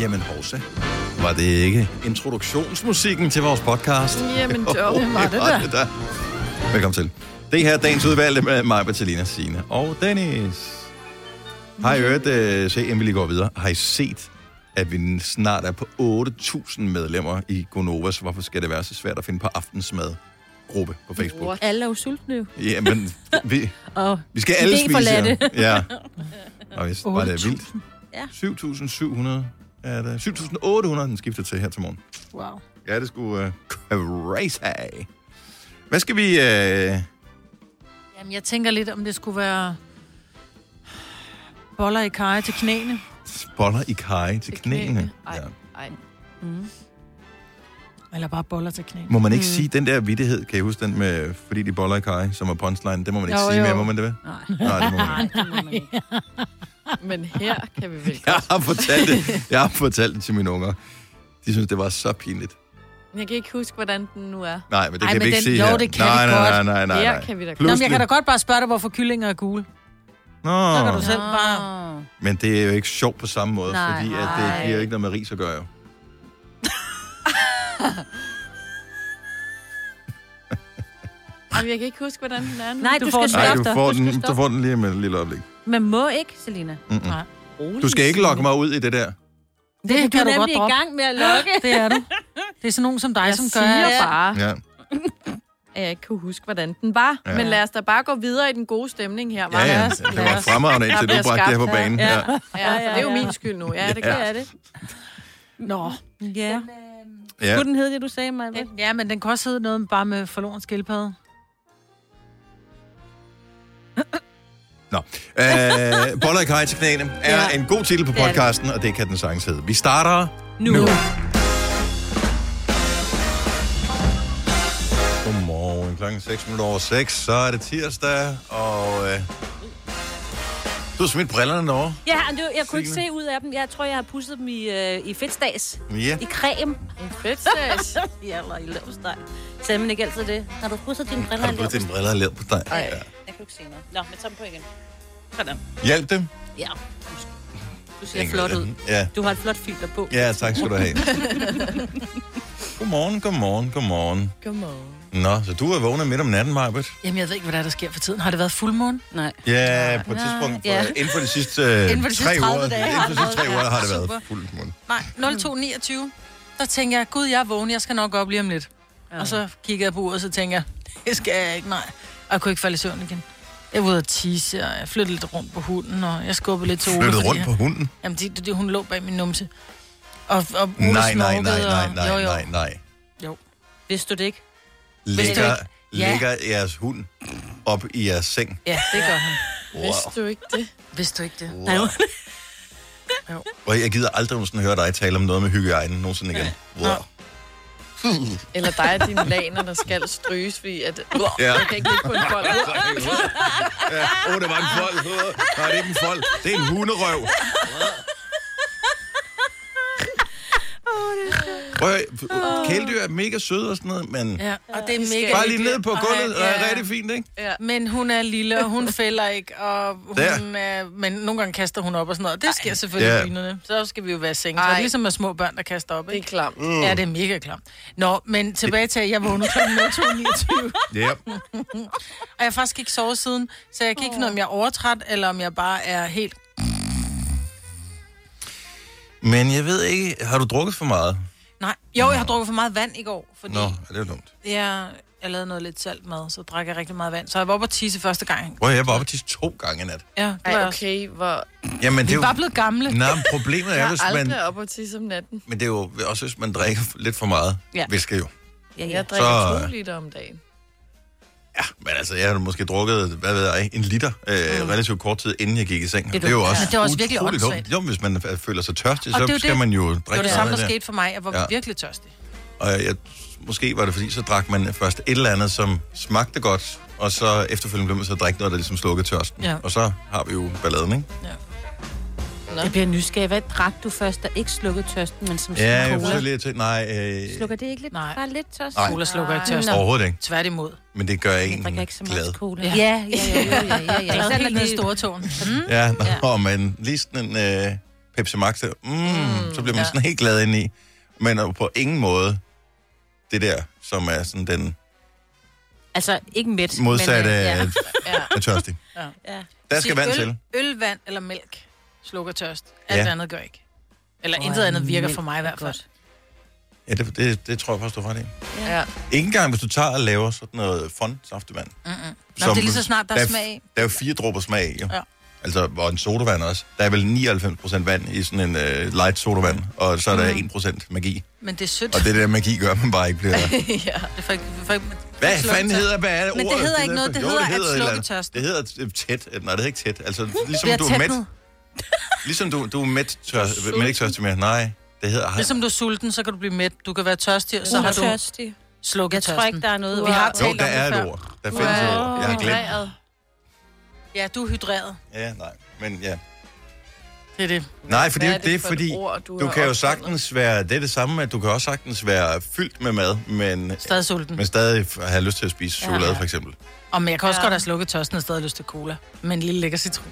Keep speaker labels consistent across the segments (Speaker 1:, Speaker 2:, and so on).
Speaker 1: Jamen, hovsa. Var det ikke introduktionsmusikken til vores podcast?
Speaker 2: Jamen, jo, det var det da.
Speaker 1: da. Velkommen til. Det her er dagens udvalgte med mig, Bertalina Signe og Dennis. Har I hørt, øh, se, inden vi lige går videre, har I set, at vi snart er på 8.000 medlemmer i Gonovas Hvorfor skal det være så svært at finde på aftensmad? gruppe på Facebook. What?
Speaker 3: Alle er jo sultne jo.
Speaker 1: Jamen, vi,
Speaker 3: Og
Speaker 1: vi skal alle spise.
Speaker 3: Idéforladte.
Speaker 1: her. Ja. Og hvis, var det vildt?
Speaker 3: 8.000.
Speaker 1: 7.700 er det. 7.800 den skifter til her til morgen.
Speaker 2: Wow.
Speaker 1: Ja, det skulle uh, crazy. Hvad skal vi... Uh...
Speaker 2: Jamen, jeg tænker lidt, om det skulle være boller i kaj til knæene.
Speaker 1: Boller i kaj til knæene.
Speaker 2: Ej.
Speaker 1: Ja.
Speaker 2: Ej. Mm. Eller bare boller til knæene.
Speaker 1: Må man ikke mm. sige den der vittighed, kan I huske den med, fordi de boller i kaj, som er punchline, det må man ikke
Speaker 2: Jo,
Speaker 1: sige
Speaker 2: jo.
Speaker 1: mere, må man det vel?
Speaker 3: Nej.
Speaker 1: Nej, det må man ikke.
Speaker 4: Men her kan vi vel
Speaker 1: Jeg
Speaker 4: godt.
Speaker 1: har fortalt det, jeg har fortalt det til mine unger. De synes, det var så pinligt.
Speaker 4: Jeg kan ikke huske, hvordan den nu er.
Speaker 1: Nej, men det
Speaker 2: Ej,
Speaker 1: kan
Speaker 2: men
Speaker 1: vi ikke
Speaker 2: den-
Speaker 1: sige
Speaker 2: jo,
Speaker 1: her.
Speaker 2: det kan
Speaker 1: nej,
Speaker 2: vi
Speaker 1: nej, nej,
Speaker 2: godt.
Speaker 1: nej, nej, nej.
Speaker 4: Her kan vi da godt.
Speaker 2: Nå, men jeg kan da
Speaker 1: Pludselig.
Speaker 2: godt bare spørge dig, hvorfor kyllinger er gule. Så kan du
Speaker 1: Nå,
Speaker 2: selv bare...
Speaker 1: men det er jo ikke sjovt på samme måde,
Speaker 3: Nej.
Speaker 1: fordi at det
Speaker 4: Nej.
Speaker 1: giver ikke noget med ris at gøre. jo.
Speaker 4: Jamen, jeg kan ikke huske, hvordan den er nu.
Speaker 3: Nej,
Speaker 2: Du
Speaker 3: du,
Speaker 2: får
Speaker 3: skal
Speaker 2: den.
Speaker 1: Nej,
Speaker 3: stoppe.
Speaker 1: du får den, du får den lige med et lille øjeblik.
Speaker 3: Man må ikke, Selina.
Speaker 1: Mm-mm.
Speaker 2: Nej.
Speaker 1: Du skal ikke lokke mig ud i det der.
Speaker 2: Det
Speaker 3: Det, det
Speaker 2: kan
Speaker 3: kan
Speaker 2: du
Speaker 3: du
Speaker 2: godt
Speaker 3: nemlig i
Speaker 2: droppe.
Speaker 3: gang med at lukke.
Speaker 2: Det er du. Det er sådan nogen som dig,
Speaker 4: jeg
Speaker 2: som gør...
Speaker 4: siger
Speaker 2: at-
Speaker 4: bare,
Speaker 3: Ah.
Speaker 1: Ja.
Speaker 4: at jeg ikke kunne huske, hvordan den var.
Speaker 1: Ja.
Speaker 4: Ja. Men lad os da bare gå videre i den gode stemning her.
Speaker 1: Ja,
Speaker 4: hva'?
Speaker 1: ja,
Speaker 2: os-
Speaker 1: det
Speaker 2: lad
Speaker 1: var
Speaker 2: os-
Speaker 1: fremragende, indtil
Speaker 4: Der
Speaker 1: du
Speaker 4: bliver
Speaker 1: bragte det her
Speaker 4: skabt
Speaker 1: på
Speaker 4: her.
Speaker 1: banen. Ja.
Speaker 3: Ja.
Speaker 4: ja, for det er jo
Speaker 3: Ja, ja.
Speaker 4: min skyld nu. Ja, det,
Speaker 1: Ja.
Speaker 4: ja. er det.
Speaker 2: Nå.
Speaker 3: Ja.
Speaker 1: Ja.
Speaker 3: Skulle den hedde det, du sagde mig?
Speaker 2: Den- Ja, men den kan også hedde noget bare med forloren skildpadde.
Speaker 1: Øh, Boller i kaj til knæene er
Speaker 2: Ja.
Speaker 1: en god titel på
Speaker 3: Det er det.
Speaker 1: podcasten, og det kan den sagtens hedde. Vi starter nu. Godmorgen. Klokken 6 minutter over 6, så er det tirsdag, og øh, du har smidt brillerne derovre.
Speaker 3: Ja, men det, var- jeg kunne ikke
Speaker 1: Signe.
Speaker 3: se ud af dem. Jeg tror, jeg har pusset dem i, øh, i fedtstads.
Speaker 1: Ja,
Speaker 3: I creme.
Speaker 4: Fedt, Stas.
Speaker 3: Ja, eller i lavsteg. Sagde man ikke altid det? Har du pusset dine briller?
Speaker 1: Mm, har du fået dine briller og lavet på dig? Ja.
Speaker 3: Jeg kan ikke se noget. Nå, men tag dem på igen. Sådan.
Speaker 1: Hjælp dem.
Speaker 3: Ja. Du ser flot ud.
Speaker 1: Ja.
Speaker 3: Du har et flot filter på.
Speaker 1: ja, tak skal du have. godmorgen, godmorgen, godmorgen.
Speaker 4: Godmorgen.
Speaker 1: Nå, så du er vågnet midt om natten, Marbet?
Speaker 2: Jamen, jeg ved ikke, hvad der, er, der sker for tiden. Har det været fuldmåne?
Speaker 3: Nej.
Speaker 1: Ja, på et tidspunkt. Ja.
Speaker 3: Ja.
Speaker 1: Inden for de sidste, øh,
Speaker 2: Inden for de sidste
Speaker 1: tre
Speaker 2: 30
Speaker 1: uger,
Speaker 2: dage
Speaker 1: inden
Speaker 2: har
Speaker 1: for de sidste
Speaker 2: det
Speaker 1: tre
Speaker 2: været-
Speaker 1: uger har det
Speaker 2: Ja,
Speaker 1: været
Speaker 2: super.
Speaker 1: fuldt mund.
Speaker 2: Nej, 0229. Der tænker jeg, gud, jeg er vågen, jeg skal nok gå op lige om lidt. Ja. Og så kigger jeg på uret, og så tænker jeg, det skal jeg ikke, nej. Og jeg kunne ikke falde i søvn igen. Jeg var ude at tisse, og jeg flyttede lidt rundt på hunden, og jeg skubbede lidt til Ole.
Speaker 1: Flyttet
Speaker 2: fordi
Speaker 1: rundt
Speaker 2: jeg-
Speaker 1: på hunden?
Speaker 2: Jamen, det, det, hun lå bag min numse. Og, og Ole
Speaker 1: Nej, nej, nej,
Speaker 2: snorkede,
Speaker 1: nej,
Speaker 2: og-
Speaker 1: nej,
Speaker 2: jo, jo.
Speaker 1: nej, nej.
Speaker 3: Vidste du det ikke?
Speaker 2: Vidste du
Speaker 1: Lægger,
Speaker 2: ikke? Ja.
Speaker 1: lægger jeres hund op i jeres seng.
Speaker 2: Ja, det gør hun.
Speaker 1: Wow.
Speaker 4: Vidste du ikke det?
Speaker 2: Vidste du ikke det?
Speaker 1: Wow.
Speaker 2: Jo.
Speaker 1: Og jeg gider aldrig nogensinde høre dig tale om noget med hygiejne nogensinde igen. Wow.
Speaker 2: Nå.
Speaker 4: Eller dig og dine laner, der skal stryges, fordi at...
Speaker 1: Ja.
Speaker 4: Jeg kan ikke lide på en bold.
Speaker 1: Ja. Åh, det var en fold. Nej, det er ikke en fold. Det er en hunderøv. Prøv, at høre, kæledyr er mega søde og sådan noget, men
Speaker 2: Ja, og det er mega
Speaker 1: bare lige ned på
Speaker 2: hyggeligt.
Speaker 1: gulvet, og
Speaker 2: Ej,
Speaker 1: er rigtig fint, ikke?
Speaker 2: Men hun er lille, og hun fælder ikke, og hun
Speaker 1: Der.
Speaker 2: er, men nogle gange kaster hun op og sådan noget. Det sker selvfølgelig
Speaker 1: Ja.
Speaker 2: i bynerne. Så skal vi jo være i sengen. Så er
Speaker 4: Ej.
Speaker 2: det ligesom med små børn, der kaster op,
Speaker 4: Det er
Speaker 2: ikke?
Speaker 4: klamt.
Speaker 1: Mm.
Speaker 2: Ja, det er mega klamt. Nå, men tilbage til, at jeg vågnede kl. 0229,
Speaker 1: Ja.
Speaker 2: og jeg har faktisk ikke sovet siden, så jeg kan ikke finde ud af, om jeg er overtræt, eller om jeg bare er helt...
Speaker 1: Men jeg ved ikke, har du drukket for meget?
Speaker 2: Nej, jo, jeg har drukket for meget vand i går, fordi
Speaker 1: Nå, ja, det er dumt.
Speaker 2: jeg, jeg lavede noget lidt salt mad, så drak jeg rigtig meget vand. Så jeg var oppe og tisse første gang.
Speaker 1: Prøv, at høre, jeg var oppe til to gange i nat.
Speaker 2: Ja, det var
Speaker 4: Ej,
Speaker 2: jeg også.
Speaker 4: okay, hvor...
Speaker 1: Jamen, det
Speaker 2: Vi
Speaker 1: er
Speaker 2: er bare
Speaker 1: jo...
Speaker 2: blevet gamle.
Speaker 1: Nej, men problemet
Speaker 4: Jeg
Speaker 1: er,
Speaker 4: er
Speaker 1: hvis man...
Speaker 4: aldrig op og tisse om natten.
Speaker 1: Men det er jo også, hvis man drikker lidt for meget, ja.
Speaker 3: Ja.
Speaker 1: hvilket jo.
Speaker 3: Ja, ja.
Speaker 4: Jeg drikker
Speaker 1: Så-
Speaker 4: to liter om dagen.
Speaker 1: Ja, men altså, jeg har måske drukket, hvad ved jeg, en liter øh, relativt kort tid, inden jeg gik i seng. Det, det er jo også,
Speaker 2: Men Mm. det er også virkelig
Speaker 1: utroligt
Speaker 2: åndssvagt.
Speaker 1: dumt. Jo, men hvis man øh, føler sig tørstig,
Speaker 2: Og
Speaker 1: så
Speaker 2: det er jo
Speaker 1: skal
Speaker 2: det.
Speaker 1: man jo
Speaker 2: Det var
Speaker 1: drikke
Speaker 2: det
Speaker 1: noget
Speaker 2: samme,
Speaker 1: af
Speaker 2: der
Speaker 1: det.
Speaker 2: skete for mig. Jeg var
Speaker 1: Ja.
Speaker 2: ja. virkelig tørstig.
Speaker 1: Og jeg, måske var det fordi, så drak man først et eller andet, som smagte godt, og så efterfølgende blev man så at drikke noget, der ligesom slukkede tørsten.
Speaker 2: Ja.
Speaker 1: Og så har vi jo balladen, ikke?
Speaker 3: Jeg bliver nysgerrig. Hvad drak du først, der ikke slukkede tørsten, men som
Speaker 1: Ja,
Speaker 3: sådan
Speaker 1: jeg
Speaker 3: cola?
Speaker 1: forsøger lige at tænke, nej, øh,
Speaker 3: Slukker det ikke lidt?
Speaker 2: Nej.
Speaker 3: Bare lidt tørst?
Speaker 1: Nej.
Speaker 2: Cola slukker ikke tørst.
Speaker 3: Nå.
Speaker 1: overhovedet ikke.
Speaker 2: Tværtimod.
Speaker 1: Men det gør
Speaker 3: Jeg
Speaker 1: en
Speaker 3: drikker ikke så meget
Speaker 1: glad.
Speaker 3: cola.
Speaker 2: Ja.
Speaker 3: Ja, ja, ja. ja, ja, ja.
Speaker 2: Jeg
Speaker 3: Sådan
Speaker 2: er
Speaker 3: er
Speaker 2: helt nede i
Speaker 3: det-
Speaker 2: store tårn. Mm.
Speaker 1: Ja, nå, ja. men lige sådan en, øh, Pepsi Max, der, mm, mm, så bliver man
Speaker 4: ja.
Speaker 1: ja. sådan helt glad ind i. Men er jo på ingen måde det der, som er sådan den
Speaker 3: Altså, ikke midt.
Speaker 1: modsatte
Speaker 3: Men, øh,
Speaker 1: af,
Speaker 3: ja.
Speaker 1: af tørstig.
Speaker 2: Ja.
Speaker 3: ja.
Speaker 1: Der skal
Speaker 2: Sige,
Speaker 1: vand
Speaker 2: øl,
Speaker 1: til.
Speaker 2: Øl, vand eller mælk slukker tørst. Alt
Speaker 1: Ja.
Speaker 2: andet gør ikke. Eller
Speaker 3: Åh,
Speaker 2: intet andet virker
Speaker 3: mælk
Speaker 2: for mig i
Speaker 3: er
Speaker 2: hvert fald.
Speaker 3: godt.
Speaker 1: Ja, det, det, det tror jeg faktisk, du har ret i.
Speaker 4: Ja.
Speaker 1: Ikke engang, hvis du tager og laver sådan noget fondsaftevand.
Speaker 2: Mm-mm. Nå, det er lige så snart, der er smag i.
Speaker 1: Der er jo fire dråber smag i, jo.
Speaker 2: Ja.
Speaker 1: Ja. Altså, og en sodavand også. Der er vel 99% vand i sådan en uh, light sodavand, og så er
Speaker 2: Mm.
Speaker 1: der 1% magi.
Speaker 2: Men det er sødt.
Speaker 1: Og det der magi gør, at man bare ikke bliver...
Speaker 4: ja.
Speaker 2: Det får ikke, det får ikke,
Speaker 1: Hvad
Speaker 2: slukker
Speaker 1: fanden
Speaker 2: tørst.
Speaker 1: hedder, hvad er det
Speaker 2: Men det
Speaker 1: ordet?
Speaker 2: hedder ikke
Speaker 1: der-
Speaker 2: noget. Det
Speaker 1: jo,
Speaker 2: hedder at
Speaker 1: et
Speaker 2: slukke
Speaker 1: eller andet.
Speaker 2: tørsten.
Speaker 1: Det hedder øh, tæt. Nej, det er ikke tæt. Altså, ligesom
Speaker 2: Bliver
Speaker 1: du er
Speaker 2: tætnet.
Speaker 1: mæt. Ligesom du, du er mæt, tør, men ikke tørstig mere. Nej, det hedder...
Speaker 2: Ligesom du er sulten, så kan du blive mæt. Du kan være tørstig, og så har du
Speaker 3: Utørstig.
Speaker 2: slukket
Speaker 3: Jeg tror ikke, der er noget.
Speaker 2: Vi har
Speaker 3: ord.
Speaker 2: talt
Speaker 1: Jo,
Speaker 2: om
Speaker 1: der
Speaker 2: det
Speaker 1: er
Speaker 2: før.
Speaker 1: et ord. Der findes et ord. Jeg har glemt.
Speaker 2: Ja, du er hydreret.
Speaker 1: Ja, nej. Men ja.
Speaker 2: Det er det.
Speaker 1: Nej, for det er jo
Speaker 4: Hvad
Speaker 1: ikke det, fordi...
Speaker 4: ord, du
Speaker 1: Du
Speaker 4: har
Speaker 1: kan jo
Speaker 4: opfundet?
Speaker 1: sagtens være, det er det samme, med, at du kan også sagtens være fyldt med mad, men,
Speaker 2: Stadig sulten.
Speaker 1: men stadig f- have lyst til at spise
Speaker 3: Ja.
Speaker 1: chokolade, for eksempel.
Speaker 2: Og men jeg kan også
Speaker 4: Ja.
Speaker 2: ja. godt have slukket tørsten og stadig lyst til cola. Men en lille lækker citron.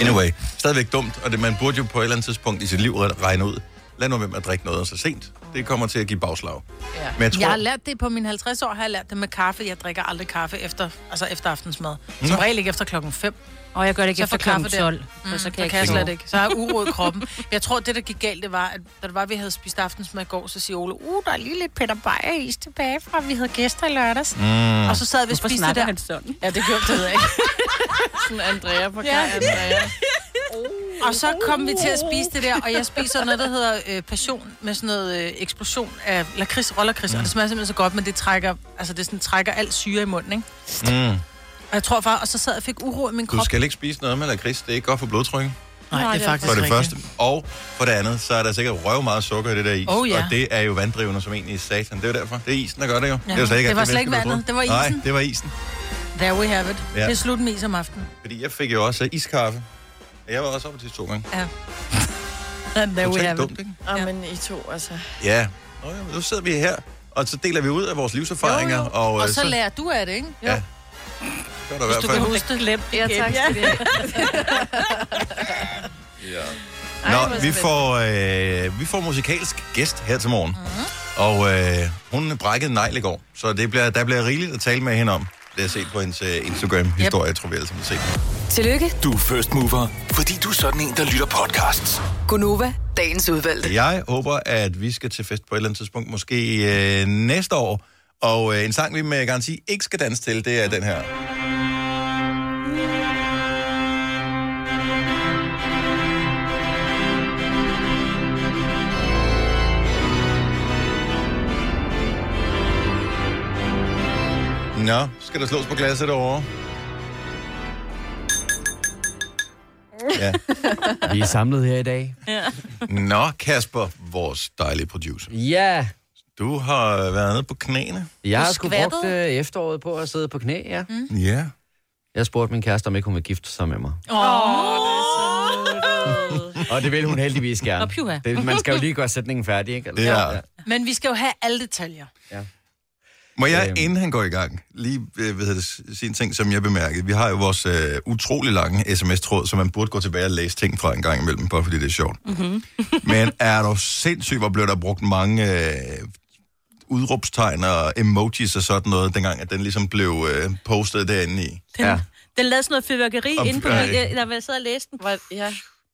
Speaker 1: Anyway, stadigvæk dumt, og det, man burde jo på et eller andet tidspunkt i sit liv regne ud, lad nu være med at drikke noget så sent. Det kommer til at give bagslag.
Speaker 4: Ja.
Speaker 1: Men jeg
Speaker 2: Jeg
Speaker 1: tror,
Speaker 2: har lært det på mine 50 år, har jeg lært det med kaffe. Jeg drikker aldrig kaffe efter, altså efter aftensmad. Som
Speaker 1: Nå.
Speaker 2: regel ikke efter klokken 5.
Speaker 3: Og jeg gør det ikke
Speaker 2: Så
Speaker 3: efter
Speaker 2: får kaffe
Speaker 3: klokken 12.
Speaker 2: Mm,
Speaker 3: for
Speaker 2: så kan
Speaker 3: jeg
Speaker 2: jeg,
Speaker 3: ikke
Speaker 2: slet ikke. Så har jeg uro i kroppen. Jeg tror, det, der gik galt, det var, at da det var, vi havde spist aftensmad i går, så siger Ole, uh, der er lige lidt Peter Beyer is tilbage fra, vi havde gæster i lørdags. Mm. Og så sad vi og spiste
Speaker 3: Hvorfor
Speaker 2: det
Speaker 3: snakker
Speaker 2: der.
Speaker 3: han sådan?
Speaker 2: Ja, det gjorde det ved jeg ikke.
Speaker 4: Sådan Andrea på ja. Andrea.
Speaker 2: Og så kom vi til at spise det der, og jeg spiser noget, der hedder øh, passion med sådan noget øh, eksplosion af lakrids, rålakrids, mm. og det smager simpelthen så godt, men det trækker, altså det sådan, trækker alt syre i munden, ikke?
Speaker 1: mm,
Speaker 2: Og jeg tror far, og så sad jeg og fik uro i min
Speaker 1: du
Speaker 2: krop.
Speaker 1: skal ikke spise noget med lakrids, det er ikke godt for blodtrykket,
Speaker 2: Nej, det er faktisk
Speaker 1: for det
Speaker 2: rigtigt.
Speaker 1: første. Og for det andet, så er der sikkert røv meget sukker i det der is,
Speaker 2: Oh, ja.
Speaker 1: og det er jo vanddrivende som egentlig i satan. Det er jo derfor, det er isen, der gør det jo.
Speaker 2: Ja,
Speaker 1: jo slet ikke
Speaker 2: det var
Speaker 1: alt
Speaker 2: slet ikke
Speaker 1: menneske, vi
Speaker 2: vandet,
Speaker 1: troede.
Speaker 2: det var isen.
Speaker 1: Nej, det var isen.
Speaker 2: There we have it.
Speaker 1: Ja.
Speaker 2: Ja. Det er slut med is om aftenen.
Speaker 1: Fordi jeg fik jo også iskaffe. Jeg var også oppe til to gange.
Speaker 2: Ja. And there we
Speaker 1: Totalt
Speaker 2: have it.
Speaker 1: dumt, ikke?
Speaker 4: Ja. men I to, altså.
Speaker 1: Ja. Nå, ja, men nu sidder vi her, og så deler vi ud af vores livserfaringer.
Speaker 2: Jo, jo.
Speaker 1: Og, øh,
Speaker 2: Og så lærer du af det, ikke?
Speaker 1: Ja. Det var der i hvert
Speaker 2: Du
Speaker 1: fald.
Speaker 2: kan huske det. Glem
Speaker 4: Ja, tak skal I have.
Speaker 1: Ja.
Speaker 4: hvor
Speaker 1: Nå, vi
Speaker 4: spændende.
Speaker 1: får, øh, vi får musikalsk gæst her til morgen. Mm-hmm. Og øh, hun brækkede negl i går, så det bliver, der bliver rigeligt at tale med hende om. Det har jeg set på hendes øh, Instagram-historie, yep. tror vi alle sammen har set.
Speaker 5: Tillykke,
Speaker 6: Du er first mover, fordi du er sådan en, der lytter podcasts.
Speaker 5: Gunova, dagens udvalgte.
Speaker 1: Jeg håber, at vi skal til fest på et eller andet tidspunkt, måske øh, næste år. Og øh, en sang, vi med garanti ikke skal danse til, det er den her. Nå, skal der slås på glasset derovre? Ja.
Speaker 7: Vi er samlet her i dag.
Speaker 1: Nå, Kasper, vores dejlige producer.
Speaker 7: Ja,
Speaker 1: Du har været nede på knæene.
Speaker 7: jeg har
Speaker 2: Du
Speaker 7: sgu brugt
Speaker 2: skvattede?
Speaker 7: øh, efteråret på at sidde på knæ, ja. Mm.
Speaker 1: Ja.
Speaker 7: Jeg spurgte min kæreste, om ikke hun ville gifte sig med mig. Og det vil hun heldigvis gerne.
Speaker 3: Nå, puha.
Speaker 7: Det, man skal jo lige gøre sætningen færdig, ikke?
Speaker 1: Det er-
Speaker 2: Men vi skal jo have alle detaljer.
Speaker 1: Må jeg,
Speaker 7: Øhm.
Speaker 1: inden han går i gang, lige øh, hvad hedder det, s- sige en ting, som jeg bemærkede. Vi har jo vores øh, utrolig lange sms-tråd, så man burde gå tilbage og læse ting fra en gang imellem, bare fordi det er sjovt. Mm-hmm. Men er du sindssygt, hvor blev der brugt mange øh, udråbstegn og emojis og sådan noget, dengang at den ligesom blev øh, postet derinde i.
Speaker 7: Den- Ja.
Speaker 3: Den lavede sådan noget fyrværkeri
Speaker 1: Om-
Speaker 3: inde på,
Speaker 1: ja,
Speaker 3: min-
Speaker 1: ikke?
Speaker 3: der hvor jeg sad og læste den.
Speaker 4: Hvor- Ja.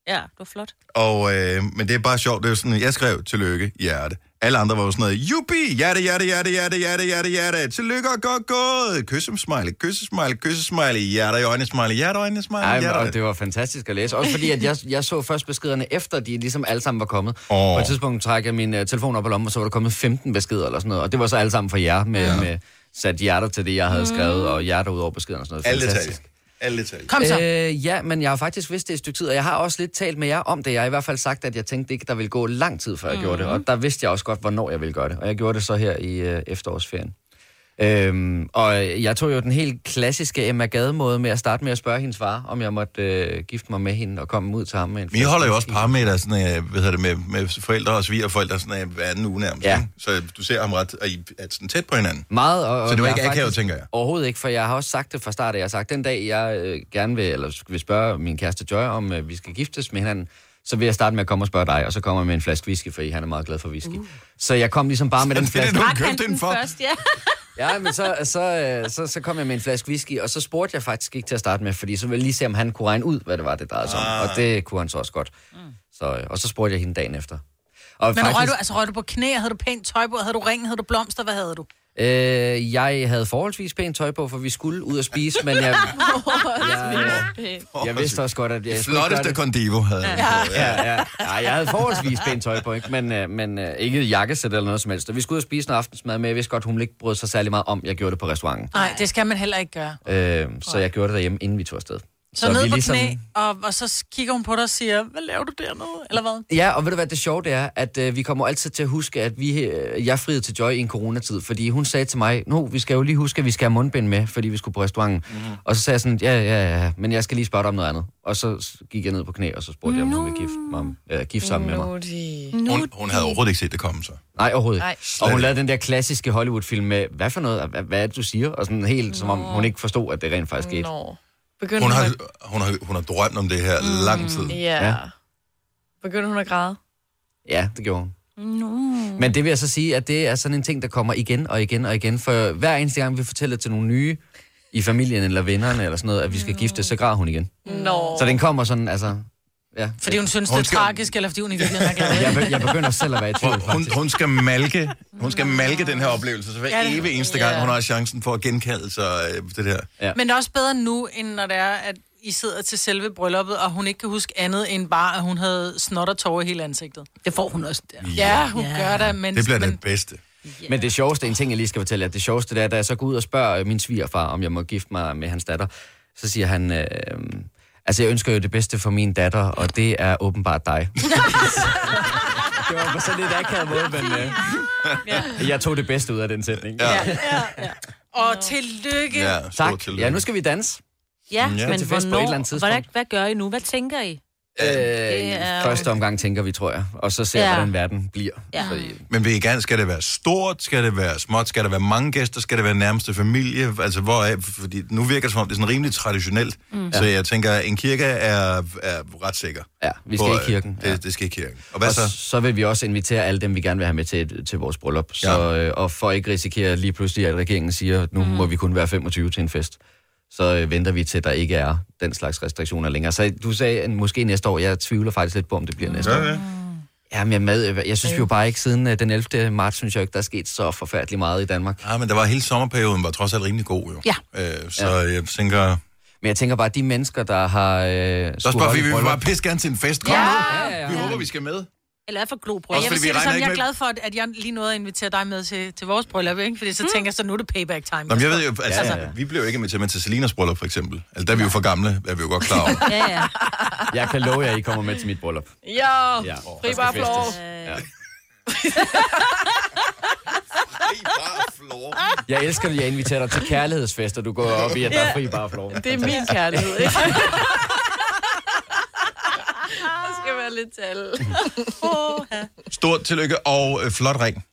Speaker 3: Ja, det var flot.
Speaker 1: Og, øh, men det er bare sjovt, det er jo sådan, jeg skrev, tillykke, hjerte. Alle andre var jo sådan noget, jubi, hjerte, hjerte, hjerte, hjerte, hjerte, hjerte, hjerte, tillykke og godt gået, kyssem smiley, kyssem smiley, kyssem smiley, hjerte i øjnene smiley, hjerte i øjnene smiley,
Speaker 7: Ej, men,
Speaker 1: hjerte i
Speaker 7: og
Speaker 1: øjnene.
Speaker 7: det var fantastisk at læse. Også fordi, at jeg, jeg så først beskederne, efter de ligesom alle sammen var kommet.
Speaker 1: Åh.
Speaker 7: På et tidspunkt trak jeg min uh, telefon op og lommen, og så var der kommet 15 beskeder eller sådan noget. Og det var så alle sammen fra jer, med, ja. med sat hjerter til det, jeg havde skrevet, og hjerter ud over beskederne og sådan noget.
Speaker 1: Alle
Speaker 7: Fantastisk.
Speaker 1: detaljer. Alle detaljer.
Speaker 2: Mm. Kom så.
Speaker 7: Øh, ja, men jeg har faktisk vidst det i et stykke tid, og jeg har også lidt talt med jer om det. Jeg har i hvert fald sagt, at jeg tænkte ikke, der ville gå
Speaker 4: Mm-hmm.
Speaker 2: Mhm.
Speaker 7: lang tid, før jeg mm. gjorde det. Og der vidste jeg også godt, hvornår jeg ville gøre det. Og jeg gjorde det så her i øh, efterårsferien. Øhm, og jeg tog jo den helt klassiske Emma Gade-måde med at starte med at spørge hendes far, om jeg måtte øh, gifte mig med hende og komme ud til ham med en
Speaker 1: Men I holder jo
Speaker 7: flaske
Speaker 1: også
Speaker 7: whisky.
Speaker 1: parmiddag sådan, øh, hvad hedder det, med, med forældre og svigerforældre sådan, øh, hver anden uge nærmest.
Speaker 7: Ja.
Speaker 1: ikke? Så du ser ham ret og I er sådan tæt på hinanden.
Speaker 7: Meget. Og, og
Speaker 1: Så det var
Speaker 7: jeg
Speaker 1: ikke
Speaker 7: har
Speaker 1: akavet, tænker jeg.
Speaker 7: Overhovedet ikke, for jeg har også sagt det fra start af. Jeg har sagt, den dag jeg øh, gerne vil, eller vil spørge min kæreste Joy, om øh, vi skal giftes med hinanden, så vil jeg starte med at komme og spørge dig, og så kommer jeg med en flaske whisky, fordi han er meget glad for whisky. Uh. Så jeg kom ligesom bare med den
Speaker 1: Det er det,
Speaker 7: flaske.
Speaker 1: du har
Speaker 3: Drak han
Speaker 1: købt den for.
Speaker 3: først, ja.
Speaker 7: Ja, men så, så, øh, så, så kom jeg med en flaske whisky, og så spurgte jeg faktisk ikke til at starte med, fordi så ville jeg lige se, om han kunne regne ud, hvad det var, det drejede sig om.
Speaker 1: Ah.
Speaker 7: Og det kunne han så også godt. Så, øh, og så spurgte jeg hende dagen efter. Og
Speaker 2: Men røg du, altså, røg du på knæ, havde du pænt tøj på, havde du ring, havde du blomster, hvad havde du?
Speaker 7: Øh, jeg havde forholdsvis pænt tøj på, for vi skulle ud og spise, men jeg, jeg, jeg vidste også godt, at jeg skulle ikke gøre
Speaker 1: Flotteste
Speaker 7: det.
Speaker 1: kondivo havde han. Ja.
Speaker 7: Ja, ja. ja, jeg havde forholdsvis pænt tøj på, ikke? men, øh, men øh, ikke jakkesæt eller noget som helst. Og vi skulle ud og spise noget aftensmad, men jeg vidste godt, hun ville ikke brød sig særlig meget om, jeg gjorde det på restauranten.
Speaker 2: Nej, det skal man heller ikke gøre.
Speaker 7: Øh, så jeg gjorde det derhjemme, inden vi tog afsted.
Speaker 2: Så, så ned på ligesom... knæ, og, og så kigger hun på dig og siger, hvad laver du dernede? Eller hvad?
Speaker 7: Ja, og ved du hvad det sjove det er, at øh, vi kommer altid til at huske, at vi, øh, jeg friede til Joy i en coronatid, fordi hun sagde til mig, nu, vi skal jo lige huske, at vi skal have mundbind med, fordi vi skulle på restauranten. Mm.
Speaker 1: Mhm.
Speaker 7: Og så sagde jeg sådan, ja, ja, ja, men jeg skal lige spørge dig om noget andet. Og så s- gik jeg ned på knæ, og så spurgte jeg, om hun ville gifte, mig, øh, gifte sammen med mig.
Speaker 4: Nu er de...
Speaker 1: Hun, hun havde overhovedet ikke set det komme, så.
Speaker 7: Nej, overhovedet
Speaker 4: Nej.
Speaker 7: ikke. Og hun lavede den der klassiske Hollywood-film med, hvad for noget, hvad, hvad er det, du siger? Og sådan helt, som om hun ikke forstod, at det rent faktisk skete.
Speaker 4: Nå. Begyndte
Speaker 1: Hun
Speaker 4: hun,
Speaker 1: har,
Speaker 4: at...
Speaker 1: hun, har, hun har drømt om det her mm. lang tid.
Speaker 4: Ja.
Speaker 7: Ja.
Speaker 4: ja. Begyndte hun at græde?
Speaker 7: Ja, det gjorde hun. No. Men det vil jeg så sige, at det er sådan en ting, der kommer igen og igen og igen. For hver eneste gang, vi fortæller til nogle nye i familien eller vennerne eller sådan noget, at vi skal gifte, så græder hun igen.
Speaker 4: Nå.
Speaker 7: Så den kommer sådan, altså... Ja.
Speaker 2: Fordi hun synes,
Speaker 1: Hun
Speaker 2: det er
Speaker 1: skal-
Speaker 2: tragisk, eller fordi hun i virkeligheden er glad.
Speaker 7: Jeg, be- jeg begynder selv at være i tvivl,
Speaker 1: Hun,
Speaker 7: faktisk.
Speaker 1: hun, skal malke, hun skal malke den her oplevelse, så hver evig eneste gang, hun har chancen for at genkalde sig øh, det der.
Speaker 2: Men det er også bedre nu, end når det er, at I sidder til selve brylluppet, og hun ikke kan huske andet end bare, at hun havde snot og tårer i hele ansigtet.
Speaker 3: Det får hun også der.
Speaker 2: Ja, hun ja. gør det, men...
Speaker 1: Det bliver
Speaker 2: men,
Speaker 1: det bedste.
Speaker 7: Men det sjoveste, en ting jeg lige skal fortælle jer, det sjoveste det er, da jeg så går ud og spørger øh, min svigerfar, om jeg må gifte mig med hans datter, så siger han, øh, altså jeg ønsker jo det bedste for min datter, og det er åbenbart dig. det var på sådan lidt akavet måde, men øh, jeg tog det bedste ud af den sætning.
Speaker 1: Ja.
Speaker 2: Og tillykke! Ja.
Speaker 1: Ja, stort
Speaker 7: Tak.
Speaker 1: tillykke.
Speaker 7: Ja, nu skal vi danse.
Speaker 3: Ja,
Speaker 1: Ja.
Speaker 7: Til
Speaker 3: men
Speaker 7: fest på et eller andet
Speaker 3: hvornår,
Speaker 7: tidspunkt.
Speaker 3: hvordan, hvad gør I nu? Hvad tænker I?
Speaker 7: Øh,
Speaker 3: er
Speaker 7: i
Speaker 3: jo-
Speaker 7: første omgang tænker vi, tror jeg. Og så ser jeg,
Speaker 3: Ja.
Speaker 7: hvordan verden bliver.
Speaker 3: Ja.
Speaker 7: Fordi,
Speaker 1: Men vil I gerne, skal det være stort? Skal det være småt? Skal der være mange gæster? Skal det være nærmeste familie? Altså, hvor er, fordi nu virker det som om, det er sådan rimelig traditionelt. Mm. Så jeg tænker, en kirke er, er ret sikker.
Speaker 7: ja, vi skal
Speaker 1: Hvor,
Speaker 7: i
Speaker 1: øh,
Speaker 7: kirken.
Speaker 1: Det, det skal i kirken. Og hvad
Speaker 7: Og
Speaker 1: så?
Speaker 7: så vil vi også invitere alle dem, vi gerne vil have med til, til vores bryllup. Så, øh, og for ikke risikere lige pludselig, at regeringen siger, at nu mm. må vi kun være 25 til en fest, så øh, venter vi til, at der ikke er den slags restriktioner længere. Så du sagde at måske næste år. Jeg tvivler faktisk lidt på, om det bliver næste år.
Speaker 1: Ja, ja.
Speaker 7: Ja, men jeg, med, øh, jeg synes vi jo bare ikke siden øh, den 11. marts, synes jeg ikke, der er sket så forfærdeligt meget i Danmark.
Speaker 1: Ja, men der var hele sommerperioden, var trods alt rimelig god jo. Ja. Øh, så ja. jeg tænker...
Speaker 7: Men jeg tænker bare, at de mennesker, der har... Øh,
Speaker 1: Så spørger vi, vi vil bare pisse gerne til en fest. Kom ja. nu!
Speaker 7: Ja, ja, ja.
Speaker 1: Vi håber, vi skal med.
Speaker 3: Eller er for globrød?
Speaker 2: Jeg
Speaker 1: fordi
Speaker 2: vil
Speaker 1: vi
Speaker 2: sige det
Speaker 1: regner
Speaker 2: sådan,
Speaker 1: ikke
Speaker 2: jeg er
Speaker 1: med-
Speaker 2: glad for, at- at jeg lige nåede at invitere dig med til, til vores bryllup, ikke? Fordi så tænker jeg, så nu er det payback time.
Speaker 1: Nå, men jeg ved jo, altså, ja,
Speaker 7: Ja,
Speaker 1: ja,
Speaker 7: ja,
Speaker 1: ja. vi blev jo ikke inviteret med til Selinas bryllup, for eksempel. Altså, der er vi jo for gamle, er vi jo godt klar over.
Speaker 3: Ja, ja.
Speaker 7: Jeg kan love jer, at I kommer med til mit bryllup.
Speaker 4: Jo.
Speaker 7: Ja,
Speaker 4: Ja.
Speaker 7: der
Speaker 4: Fri
Speaker 7: skal
Speaker 4: bare
Speaker 7: festes.
Speaker 4: flår.
Speaker 7: Ja.
Speaker 1: Ej, bare flår.
Speaker 7: Jeg elsker, at jeg inviterer dig til kærlighedsfest, og du går op i, at der er fri bare flov.
Speaker 4: Det er min kærlighed, ikke? Der skal være lidt tal.
Speaker 1: Stort tillykke og øh, flot ring.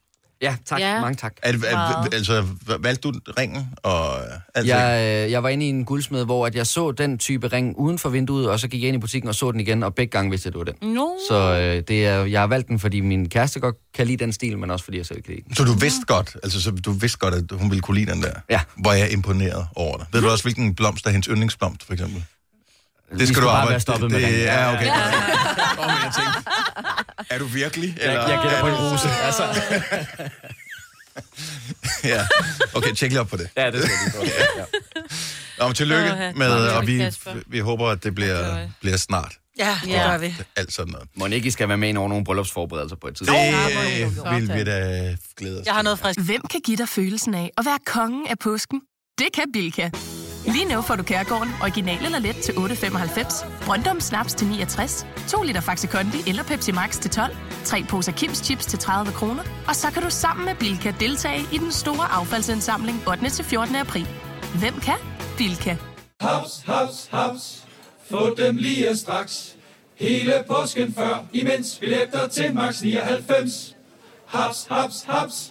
Speaker 7: Ja, tak.
Speaker 3: Ja.
Speaker 7: Ja. Mange tak.
Speaker 1: Er, er, er, altså, hva- valgte du ringen og øh, alt ja.
Speaker 7: Jeg, øh, jeg var inde i en guldsmed, hvor at jeg så den type ring uden for vinduet, og så gik jeg ind i butikken og så den igen, og begge gange vidste jeg, det var den.
Speaker 3: No.
Speaker 7: Så øh, det er, jeg har valgt den, fordi min kæreste godt kan lide den stil, men også fordi jeg selv kan lide den.
Speaker 1: Så du vidste godt, altså så du vidste godt, at hun ville kunne lide den der.
Speaker 7: Ja.
Speaker 1: Hvor jeg er imponeret over dig. Ved du også, hvilken blomst er hendes yndlingsblomst, for eksempel?
Speaker 7: Vi
Speaker 1: Det skal du
Speaker 7: bare
Speaker 1: arbejde.
Speaker 7: være stoppet
Speaker 1: det,
Speaker 7: med
Speaker 1: det,
Speaker 7: ringen.
Speaker 1: Ja, okay. Ja. Kom, jeg tænkte, er du virkelig?
Speaker 7: Jeg, jeg gætter på en rose. Altså,
Speaker 1: ja. Okay, tjek lige op på det.
Speaker 7: ja, det skal jeg lige prøve. ja.
Speaker 1: Nå, men tillykke
Speaker 3: Åh, ja.
Speaker 1: med,
Speaker 3: Tak,
Speaker 1: og vi,
Speaker 3: Kasper.
Speaker 1: vi håber, at det bliver, bliver snart.
Speaker 2: Ja, det gør vi.
Speaker 1: Alt sådan noget.
Speaker 7: Mon ikke, I skal være med ind over nogle bryllupsforberedelser på et tidspunkt.
Speaker 1: Det øh, vil vi da glæde os
Speaker 2: Jeg har noget frisk.
Speaker 5: Hvem kan give dig følelsen af at være kongen af påsken? Det kan Bilka.
Speaker 8: Lige nu får du Kærgården original eller let til 8.95, Brøndum Snaps til 69, 2 liter Faxi Kondi eller Pepsi Max til 12, 3 poser Kims Chips til 30 kroner, og så kan du sammen med Bilka deltage i den store affaldsindsamling 8. til 14. april. Hvem kan? Bilka.
Speaker 9: Haps, haps, haps. Få dem lige straks. Hele påsken før, imens billetter til max 99. Haps, haps, haps.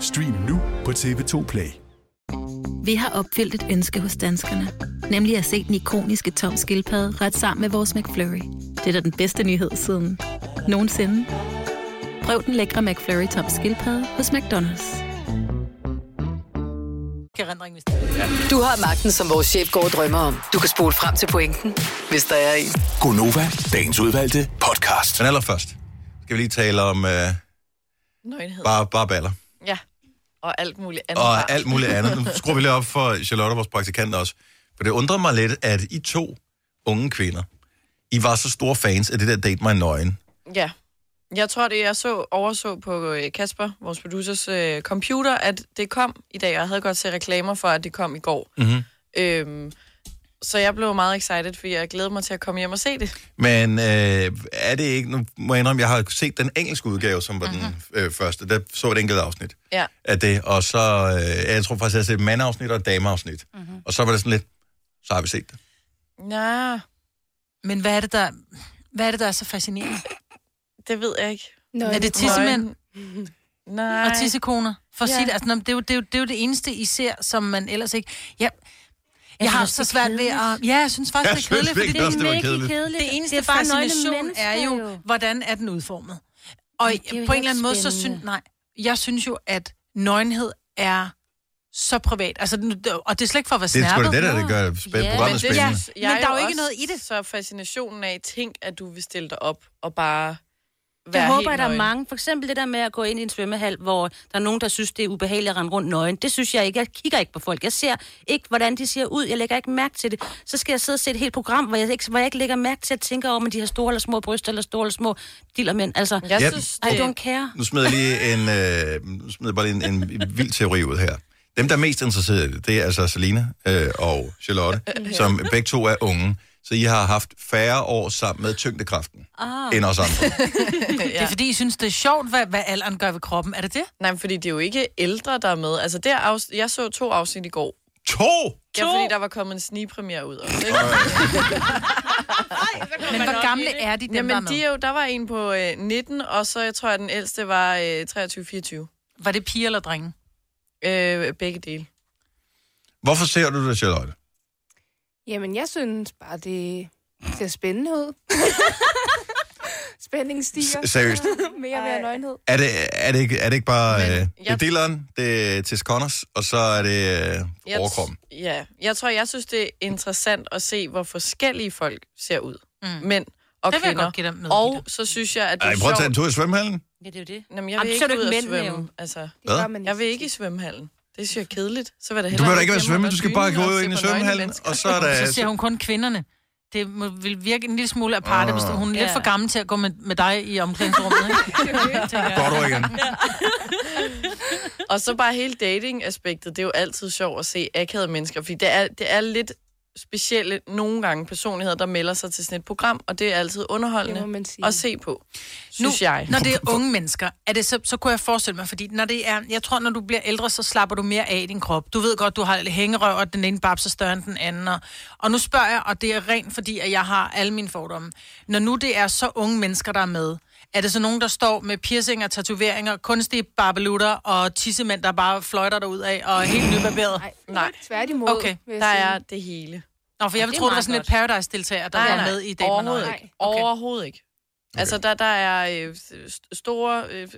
Speaker 10: Stream nu på TV2 Play.
Speaker 11: Vi har opfyldt et ønske hos danskerne. Nemlig at se den ikoniske tom skildpadde ret sammen med vores McFlurry. Det er da den bedste nyhed siden nogensinde. Prøv den lækre McFlurry tom skildpadde hos McDonald's.
Speaker 5: Du har magten, som vores chef går og drømmer om. Du kan spole frem til pointen, hvis der er en.
Speaker 1: Gonova, dagens udvalgte podcast. Men allerførst skal vi lige tale om øh,
Speaker 4: Nøgenhed.
Speaker 1: bare, bare baller.
Speaker 4: Ja. Og alt muligt andet.
Speaker 1: Og alt muligt andet. Nu skruer vi lidt op for Charlotte, vores praktikant også. For det undrer mig lidt, at I to unge kvinder, I var så store fans af det der Date My Nøgen.
Speaker 4: Ja. Jeg tror, det jeg så, overså på øh, Kasper, vores producers øh, computer, at det kom i dag, og jeg havde godt set reklamer for, at det kom i går.
Speaker 1: Mm-hmm.
Speaker 4: Øhm, så jeg blev meget excited, fordi jeg glæder mig til at komme hjem og se det.
Speaker 1: Men øh, er det ikke... Nu må jeg indrømme, jeg har set den engelske udgave, som var mm-hmm. den øh, første. Der så jeg et enkelt afsnit
Speaker 4: Ja.
Speaker 1: af det. Og så... Øh, jeg tror faktisk, jeg har set et mandafsnit og et dameafsnit. Mm-hmm. Og så var det sådan lidt... Så har vi set det.
Speaker 4: Ja.
Speaker 2: Men hvad er det, der, hvad er, det, der er så fascinerende?
Speaker 4: Det ved jeg ikke.
Speaker 2: Nøgen. Er det tissemænd?
Speaker 4: Nej.
Speaker 2: Og tissekoner? For at
Speaker 4: Ja.
Speaker 2: sige det, altså, nå, men det, er jo, det, er jo, det er jo det eneste, I ser, som man ellers ikke... Jeg, jeg, jeg har
Speaker 3: synes,
Speaker 2: så
Speaker 3: det er
Speaker 2: svært ved at... Ja, jeg synes faktisk,
Speaker 1: Jeg
Speaker 2: det er kedeligt,
Speaker 1: synes
Speaker 2: fordi
Speaker 1: virkelig også, det var kedeligt.
Speaker 2: Det eneste
Speaker 3: Det
Speaker 2: det
Speaker 3: er
Speaker 2: er
Speaker 3: bare nøgne
Speaker 2: fascination
Speaker 3: mennesker,
Speaker 2: er jo,
Speaker 3: jo.
Speaker 2: hvordan er den udformet. Og
Speaker 3: Men det er jo
Speaker 2: på en
Speaker 3: ikke
Speaker 2: eller anden måde, så
Speaker 3: spændende.
Speaker 2: synes... Nej, jeg synes jo, at nøgenhed er så privat. Altså, den- og det er slet ikke for at være
Speaker 1: Det er
Speaker 2: snærpet.
Speaker 1: sgu da det, der, det gør spændende. Yeah.
Speaker 4: Men
Speaker 1: Programmet
Speaker 4: det
Speaker 1: spændende.
Speaker 4: synes
Speaker 2: Men
Speaker 4: jeg
Speaker 2: der er jo ikke
Speaker 4: også
Speaker 2: noget
Speaker 4: i det. Så fascinationen af, tænk, at du vil stille dig op og bare være
Speaker 3: Jeg håber, at
Speaker 4: helt
Speaker 3: der er
Speaker 4: nøgen.
Speaker 3: mange. For eksempel det der med at gå ind i en svømmehal, hvor der er nogen, der synes, det er ubehageligt at rende rundt nøgen. Det synes jeg ikke. Jeg kigger ikke på folk. Jeg ser ikke, hvordan de ser ud. Jeg lægger ikke mærke til det. Så skal jeg sidde og se et helt program, hvor jeg ikke, hvor jeg ikke lægger mærke til at tænke over, om de har store eller små bryster, eller store eller små dillermænd. Altså,
Speaker 1: Jeg Ja. synes,
Speaker 3: I
Speaker 1: det-
Speaker 3: don't care.
Speaker 1: Nu smider jeg lige en, øh, nu smider jeg bare lige en, en vild teori ud her. Dem, der er mest interesseret i det, det er altså Selina øh, og Charlotte,
Speaker 12: Ja.
Speaker 1: som begge to er unge. Så I har haft færre år sammen med tyngdekraften.
Speaker 2: Ah.
Speaker 1: end os andre.
Speaker 2: Det er fordi, I synes, det er sjovt, hvad, hvad alderen gør ved kroppen. Er det det?
Speaker 4: Nej, men fordi det er jo ikke ældre, der er med. Altså, der afs- jeg så to afsnit i går.
Speaker 1: To?
Speaker 4: Ja, fordi der var kommet en snigpremiere ud. Og
Speaker 2: Men hvor gamle er de, dem,
Speaker 4: Jamen,
Speaker 2: der er med?
Speaker 4: de er jo, der var en på øh, 19, og så jeg tror, at den ældste var øh, 23-24.
Speaker 2: Var det piger eller drenge?
Speaker 4: Øh, begge dele.
Speaker 1: Hvorfor ser du det, Charlotte?
Speaker 13: Jamen, jeg synes bare, det ser spændende ud. Spændingen stiger.
Speaker 1: S- seriøst?
Speaker 13: Mere og mere nøgenhed.
Speaker 1: Er det, er det, ikke, er det ikke bare øh, det er dilleren, det er til Connors, og så er det øh,
Speaker 4: t-
Speaker 1: overkroppen?
Speaker 4: Ja, jeg tror, jeg synes, det er interessant at se, hvor forskellige folk ser ud. Mm. Mænd og
Speaker 2: Det vil jeg
Speaker 4: kvinder.
Speaker 2: godt give dig med
Speaker 4: og så synes jeg, at det
Speaker 1: Ej,
Speaker 4: er
Speaker 1: prøv at tage en
Speaker 4: sjovt.
Speaker 1: tur i svømmehallen.
Speaker 3: Ja, det er jo det.
Speaker 4: Jamen, jeg
Speaker 3: Jamen,
Speaker 4: vil
Speaker 3: så er
Speaker 4: ikke
Speaker 3: det
Speaker 4: ud
Speaker 3: jo
Speaker 4: og
Speaker 3: ikke mænd,
Speaker 4: svømme.
Speaker 3: jo.
Speaker 4: Altså,
Speaker 1: Hvad? gør
Speaker 4: jeg vil ikke i svømmehallen. Det synes jeg er kedeligt. Så vil det
Speaker 1: Du behøver da ikke være svømme, du skal bare gå ind i svømmehallen, og så er der...
Speaker 2: Så ser hun kun kvinderne. Det må, vil virke en lille smule aparte,
Speaker 1: Ah.
Speaker 2: hvis hun er lidt
Speaker 4: Ja.
Speaker 2: for gammel til at gå med, med dig i omklædningsrummet.
Speaker 1: Går du igen?
Speaker 4: Og så bare hele dating-aspektet, det er jo altid sjovt at se akavede mennesker, fordi det er, det er lidt specielle nogle gange personligheder, der melder sig til sådan et program, og det er altid underholdende at se på, synes
Speaker 2: nu,
Speaker 4: jeg.
Speaker 2: Når det er unge mennesker, er det så, så kunne jeg forestille mig, fordi når det er, jeg tror, når du bliver ældre, så slapper du mere af i din krop. Du ved godt, du har hængerøv, og den ene babs er større end den anden. Og, og nu spørger jeg, og det er rent fordi, at jeg har alle mine fordomme. Når nu det er så unge mennesker, der er med, er det så nogen, der står med piercinger, tatoveringer, kunstige barbelutter og tissemænd, der bare fløjter derud af og er helt nybarberet?
Speaker 4: Nej,
Speaker 13: tværtimod,
Speaker 2: Okay,
Speaker 13: vil jeg
Speaker 2: der
Speaker 13: sige.
Speaker 2: er
Speaker 4: det hele.
Speaker 2: Nå, for
Speaker 4: Ja,
Speaker 2: jeg vil
Speaker 4: det er
Speaker 2: tro, det var
Speaker 4: meget
Speaker 2: sådan et Paradise-deltager, der var med i Date med
Speaker 4: overhovedet
Speaker 2: Nøgen.
Speaker 4: ikke. Overhovedet ikke. Okay. Altså, der, der er øh, s- store, øh,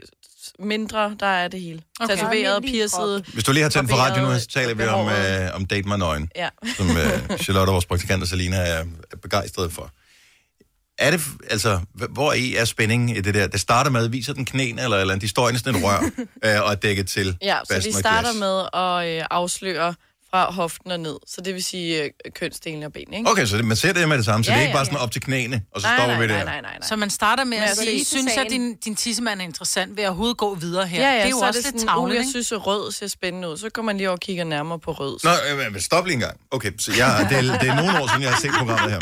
Speaker 4: s- mindre, der er det hele. Okay.
Speaker 2: Okay.
Speaker 4: Tatoveret,
Speaker 2: Almindelig
Speaker 4: pierced.
Speaker 1: Hvis du lige har tændt for
Speaker 4: barberet,
Speaker 1: radioen nu, så taler vi om, øh, om Date My Nøgen,
Speaker 4: Ja.
Speaker 1: som øh, Charlotte, vores praktikant og Selina er er begejstrede for. Er det, f- altså, h- hvor i er spændingen i det der? Det starter med, viser den knæen eller eller andet, de står inde i sådan et rør øh, og er dækket til.
Speaker 4: Ja, så
Speaker 1: basten
Speaker 4: vi
Speaker 1: og
Speaker 4: starter
Speaker 1: glas.
Speaker 4: med at øh, afsløre fra hoften og ned. Så det vil sige øh, kønsdelen og ben, ikke?
Speaker 1: Okay, så det, man ser det med det samme, så
Speaker 4: Ja,
Speaker 1: det er ikke
Speaker 4: ja,
Speaker 1: bare sådan
Speaker 4: ja.
Speaker 1: op til knæene, og så stopper vi der.
Speaker 4: nej, nej.
Speaker 2: Så man starter med
Speaker 4: Men
Speaker 2: at
Speaker 4: altså
Speaker 2: sige,
Speaker 4: lige til
Speaker 2: synes jeg,
Speaker 4: sagen.
Speaker 2: din, din tissemand er interessant, vil jeg overhovedet gå videre her?
Speaker 4: Ja, ja,
Speaker 2: det er jo
Speaker 4: så
Speaker 2: også
Speaker 4: er det
Speaker 2: lidt
Speaker 4: sådan, uh,
Speaker 2: tavligt,
Speaker 4: jeg
Speaker 2: ikke?
Speaker 4: synes, at rød ser spændende ud. Så går man lige over og kigger nærmere på rød.
Speaker 1: Nå, øh, men stop lige en gang. Okay, så jeg, det, er, det er nogle år siden, jeg har set programmet her.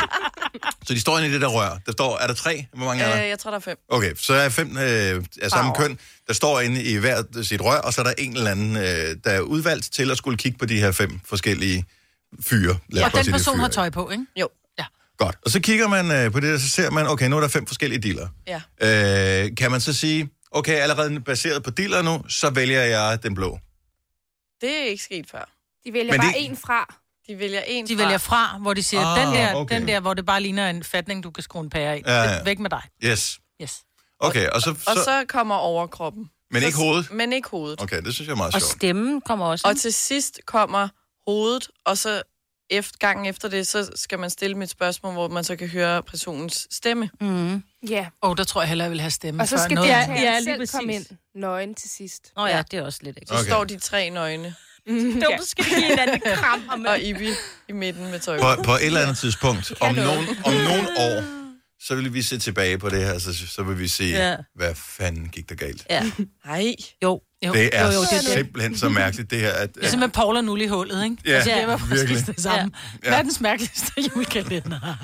Speaker 1: Så de står inde i det der rør. Der står, er der tre? Hvor mange er der?
Speaker 4: Øh, jeg tror, der er fem.
Speaker 1: Okay, så er fem øh, af samme
Speaker 4: Farver.
Speaker 1: køn, der står inde i hver sit rør, og så er der en eller anden, øh, der er udvalgt til at skulle kigge på de her fem forskellige fyre. Lad os
Speaker 2: Og den
Speaker 1: bare sige, det er
Speaker 2: person
Speaker 1: fyre,
Speaker 2: har
Speaker 1: ikke?
Speaker 2: tøj på, ikke?
Speaker 4: Jo.
Speaker 1: Godt. Og så kigger man øh, på det, og så ser man, okay, nu er der fem forskellige dealer.
Speaker 4: Ja.
Speaker 1: Øh, kan man så sige, okay, allerede baseret på dealer nu, så vælger jeg den blå.
Speaker 4: Det er ikke sket før.
Speaker 13: De vælger
Speaker 1: Men
Speaker 13: bare
Speaker 1: det-
Speaker 13: en fra.
Speaker 4: De vælger en
Speaker 2: De vælger fra, hvor de siger, ah, den,
Speaker 1: Ah,
Speaker 2: der,
Speaker 1: okay.
Speaker 2: okay. den der, hvor det bare ligner en fatning, du kan skrue en pære i.
Speaker 1: Ja, ja.
Speaker 2: Det- Væk med dig.
Speaker 1: Yes.
Speaker 2: Yes.
Speaker 1: Okay, og så...
Speaker 4: Og så kommer overkroppen.
Speaker 1: Men ikke
Speaker 4: Så-
Speaker 1: hovedet?
Speaker 4: Men ikke hovedet.
Speaker 1: Okay, det synes jeg er meget sjovt.
Speaker 4: stemmen kommer også. Og til sidst kommer hovedet, og så efter, gangen efter det, så skal man stille mit spørgsmål, hvor man så kan høre personens stemme.
Speaker 2: Mm.
Speaker 13: Ja.
Speaker 2: Åh, oh, der tror jeg hellere, jeg vil have stemme.
Speaker 13: Og så
Speaker 2: før
Speaker 13: skal
Speaker 2: noget.
Speaker 13: det ja, ja, selv komme ind nøgen til sidst.
Speaker 2: Nå ja,
Speaker 13: Ja.
Speaker 2: det er også lidt ikke.
Speaker 4: Så
Speaker 1: Okay.
Speaker 4: okay. står de tre nøgne.
Speaker 13: Mm,
Speaker 4: Ja.
Speaker 13: ja. skal vi give hinanden et kram om
Speaker 4: og Ibi i midten med tøj.
Speaker 1: På, på et eller andet tidspunkt, om
Speaker 4: noget.
Speaker 1: nogen, om nogle år, så vil vi se tilbage på det her, så, så vil vi se, ja.
Speaker 4: Ja.
Speaker 1: hvad fanden gik der galt.
Speaker 2: Ja.
Speaker 4: Nej.
Speaker 2: Jo. jo.
Speaker 1: Det er
Speaker 2: jo, jo, det, er det.
Speaker 1: simpelthen så mærkeligt, det her. At,
Speaker 2: Det er som med Paul og Nul i hullet, ikke? Altså,
Speaker 1: Ja,
Speaker 2: det var præcis
Speaker 1: virkelig.
Speaker 2: det samme.
Speaker 1: Ja.
Speaker 2: Ja. Verdens mærkeligste julekalender.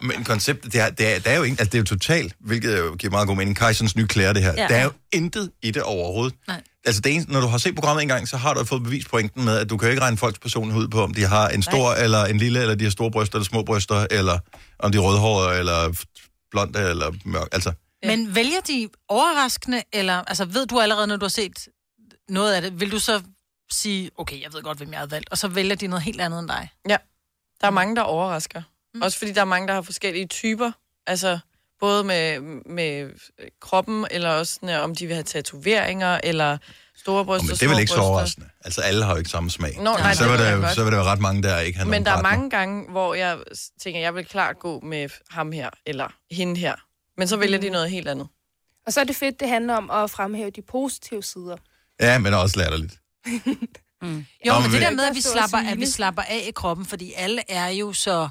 Speaker 1: Men konceptet, det er, det er, der er jo ikke, altså det er jo totalt, hvilket jo giver meget god mening, Kajsons nye klæder, det her. Ja.
Speaker 2: Ja.
Speaker 1: Der er jo intet i det overhovedet.
Speaker 2: Nej.
Speaker 1: Altså det eneste, når du har set programmet en gang, så har du fået bevispointen med, at du kan jo ikke regne folks personlighed ud på, om de har en stor Nej. eller en lille, eller de har store bryster eller små bryster, eller om de er rødhårede, eller blonde, eller mørk. Altså,
Speaker 2: Men vælger de overraskende, eller altså ved du allerede, når du har set noget af det, vil du så sige, okay, jeg ved godt, hvem jeg havde valgt, og så vælger de noget helt andet end dig?
Speaker 4: Ja. Der er mange, der overrasker. Mm. Også fordi der er mange, der har forskellige typer. Altså, både med, med kroppen, eller også sådan, øh, om de vil have tatoveringer, eller store
Speaker 1: og
Speaker 4: bryster,
Speaker 1: men det er vel
Speaker 4: små
Speaker 1: ikke så
Speaker 4: bryster.
Speaker 1: overraskende. Altså alle har jo ikke samme smag.
Speaker 4: Nå, nej,
Speaker 1: så,
Speaker 4: det
Speaker 1: vil
Speaker 4: ved
Speaker 1: der,
Speaker 4: jeg
Speaker 1: jo-
Speaker 4: godt.
Speaker 1: så vil der jo ret mange, der ikke har nogen
Speaker 4: Men der er
Speaker 1: partner.
Speaker 4: mange gange, hvor jeg s- tænker, jeg vil klart gå med f- ham her, eller hende her. Men så vælger de noget helt andet.
Speaker 13: Og så er det fedt, det handler om at fremhæve de positive sider.
Speaker 1: Ja, men også latterligt.
Speaker 2: Jo,
Speaker 1: Nå,
Speaker 2: Mm. men
Speaker 1: men-
Speaker 2: det der med, at vi
Speaker 13: Stå og
Speaker 2: slapper,
Speaker 13: smile.
Speaker 2: at vi slapper af i kroppen, fordi alle er jo så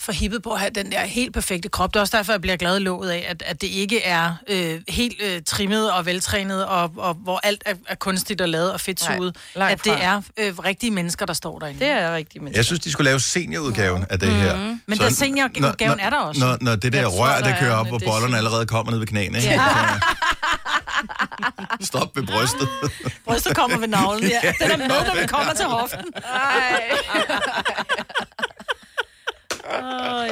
Speaker 2: forhippet på at have den der helt perfekte krop. Det er også derfor, jeg bliver glad i låget af, at, at det ikke er øh, helt øh, trimmet og veltrænet, og, og hvor alt er, er kunstigt og lavet og fedtsuget.
Speaker 4: Nej, langt
Speaker 2: At det
Speaker 4: fra.
Speaker 2: er øh, rigtige mennesker, der står derinde.
Speaker 4: Det er rigtige mennesker.
Speaker 1: Jeg synes, de skulle lave seniorudgaven af det her.
Speaker 2: Mhm. Men den seniorudgaven
Speaker 1: når-
Speaker 2: er der også.
Speaker 1: Når, når det der
Speaker 2: Jeg tror,
Speaker 1: rør,
Speaker 2: der
Speaker 1: der
Speaker 2: er
Speaker 1: kører
Speaker 2: en,
Speaker 1: op, hvor
Speaker 2: det er
Speaker 1: bollerne
Speaker 2: sygt.
Speaker 1: allerede kommer ned ved knæene. Ikke? Så- Stop ved brystet.
Speaker 2: Brystet kommer ved navlen, ja. Den er med, når vi kommer til hoften.
Speaker 4: Ah.
Speaker 2: Åh,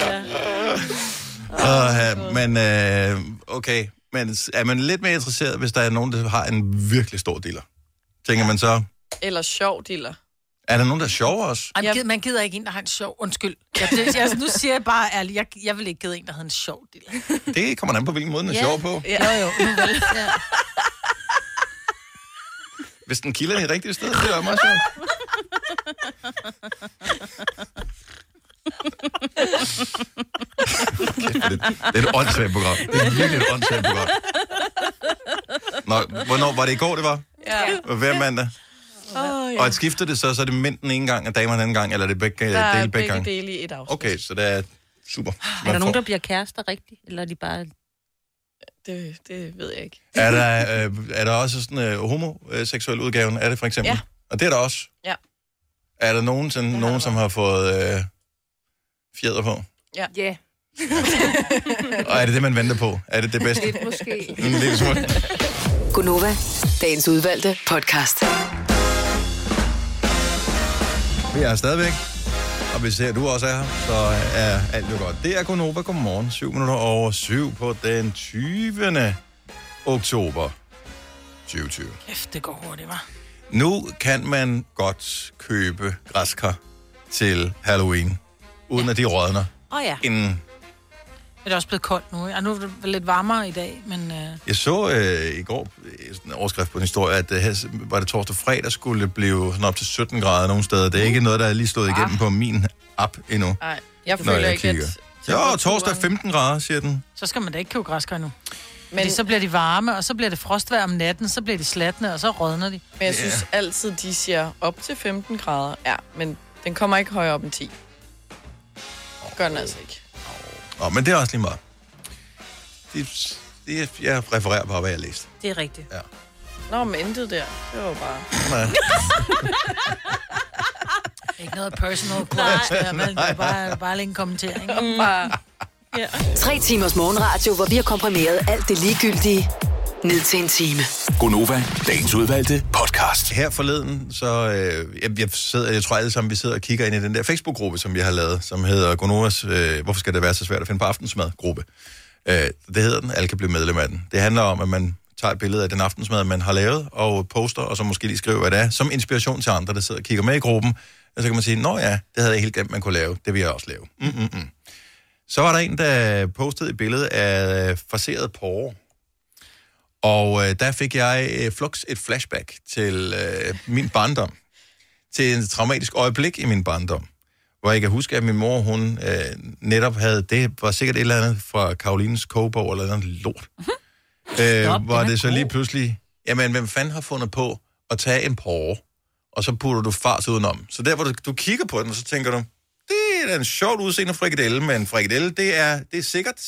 Speaker 2: ja.
Speaker 1: Uh, men øh, okay, men s- er man lidt mere interesseret, hvis der er nogen, der har en virkelig stor dealer? Tænker man så,
Speaker 4: Eller sjov diller.
Speaker 1: er der nogen, der er sjovere også?
Speaker 2: Ej, man, gider, man gider ikke en, der har en sjov... Undskyld. Jeg, det, jeg, altså, nu siger jeg bare ærligt, jeg, jeg vil ikke gide en, der havde en sjov del.
Speaker 1: Det kommer an på, hvilken måde den er sjov på.
Speaker 2: Ja. Jo, jo. nu vel. Ja.
Speaker 1: Hvis den kilder i rigtige sted, det er jo meget sjovt. Kæft, det, det er et åndssvagt program. Det er virkelig et åndssvagt program. Nå, hvornår var det i går, det var?
Speaker 4: Ja.
Speaker 1: Hver mandag?
Speaker 4: Oh,
Speaker 1: Og at skifter det så, så er det mænd den ene gang, og damer den anden gang, eller er det begge,
Speaker 4: Der er
Speaker 1: dele begge
Speaker 4: begge
Speaker 1: gange?
Speaker 4: dele i et afsnit.
Speaker 1: Okay, så det er super.
Speaker 3: Er der nogen, der bliver kærester rigtigt? Eller er de bare...
Speaker 4: Det, det ved jeg ikke.
Speaker 1: er, der, øh, er der også sådan øh, homoseksuel udgaven? Er det for eksempel?
Speaker 4: Ja.
Speaker 1: Og det er der også.
Speaker 4: Ja.
Speaker 1: Er der nogen, sådan, nogen som har fået øh, fjeder på?
Speaker 4: Ja.
Speaker 13: Yeah.
Speaker 1: Og er det det, man venter på? Er det det bedste?
Speaker 13: Lidt måske.
Speaker 1: En lille smule.
Speaker 5: Gunova, dagens udvalgte podcast.
Speaker 1: Vi er stadigvæk. Og hvis øh, du også er her, så er alt jo godt. Det er Gunova. Godmorgen. 7 minutter over 7 på den 20. oktober 2020.
Speaker 2: Kæft, det går hurtigt, var.
Speaker 1: Nu kan man godt købe græskar til Halloween, uden ja. at de rådner
Speaker 3: Åh oh, ja.
Speaker 1: inden
Speaker 2: Det er også blevet koldt nu, ikke? Og nu er det lidt varmere i dag, men... Øh,
Speaker 1: Jeg så øh, i går øh, sådan en overskrift på en historie, at øh, her s- var det torsdag og fredag skulle det blive sådan op til 17 grader nogle steder. Det er ikke noget, der er lige slået igennem på min app
Speaker 2: Ah.
Speaker 1: endnu.
Speaker 4: Nej, jeg
Speaker 1: når
Speaker 4: føler ikke,
Speaker 1: kigger.
Speaker 4: at...
Speaker 1: Jo, torsdag 15 grader, siger den.
Speaker 2: Så skal man da ikke købe græskar nu. Men Fordi så bliver de varme, og så bliver det frostvær om natten, så bliver de slatne, og så rådner de.
Speaker 4: Men jeg synes altid, de siger op til 15 grader. Ja, men den kommer ikke højere op end 10. Det gør den altså ikke.
Speaker 1: Nå, men det er også lige meget. Det, det, er- jeg refererer bare, hvad jeg læste.
Speaker 4: Det er rigtigt.
Speaker 1: Ja.
Speaker 4: Nå, men intet der. Det var bare...
Speaker 1: Nej.
Speaker 2: Ikke noget personal quote der, vel? Det er bare, bare lige en kommentering. Mm. Ja.
Speaker 5: Tre timers morgenradio, hvor vi har komprimeret alt det ligegyldige ned til en time.
Speaker 1: Gonova, dagens udvalgte podcast. Her forleden, så øh, jeg, jeg, sidder, jeg tror alle sammen, vi sidder og kigger ind i den der Facebook-gruppe, som vi har lavet, som hedder Gonovas, øh, hvorfor skal det være så svært at finde på aftensmad-gruppe. Øh, det hedder den, alle kan blive medlem af den. Det handler om, at man tager et billede af den aftensmad, man har lavet, og poster, og så måske lige skriver, hvad det er, som inspiration til andre, der sidder og kigger med i gruppen. Og så kan man sige, nå ja, det havde jeg helt glemt, man kunne lave. Det vil jeg også lave. Mm-mm-mm. Så var der en, der postede et billede af farseret porre. Og øh, der fik jeg øh, flux et flashback til øh, min barndom. Til en traumatisk øjeblik i min barndom. Hvor jeg kan huske, at min mor, hun øh, netop havde, det var sikkert et eller andet fra Karolines kogebog eller noget lort.
Speaker 12: Stop,
Speaker 1: øh, hvor
Speaker 12: den er
Speaker 1: det så lige pludselig, jamen hvem fanden har fundet på at tage en porre, og så putter du fars udenom. Så der, hvor du, du kigger på den, og så tænker du, det er da en sjovt udseende frikadelle, men frikadelle, det er, det er sikkert.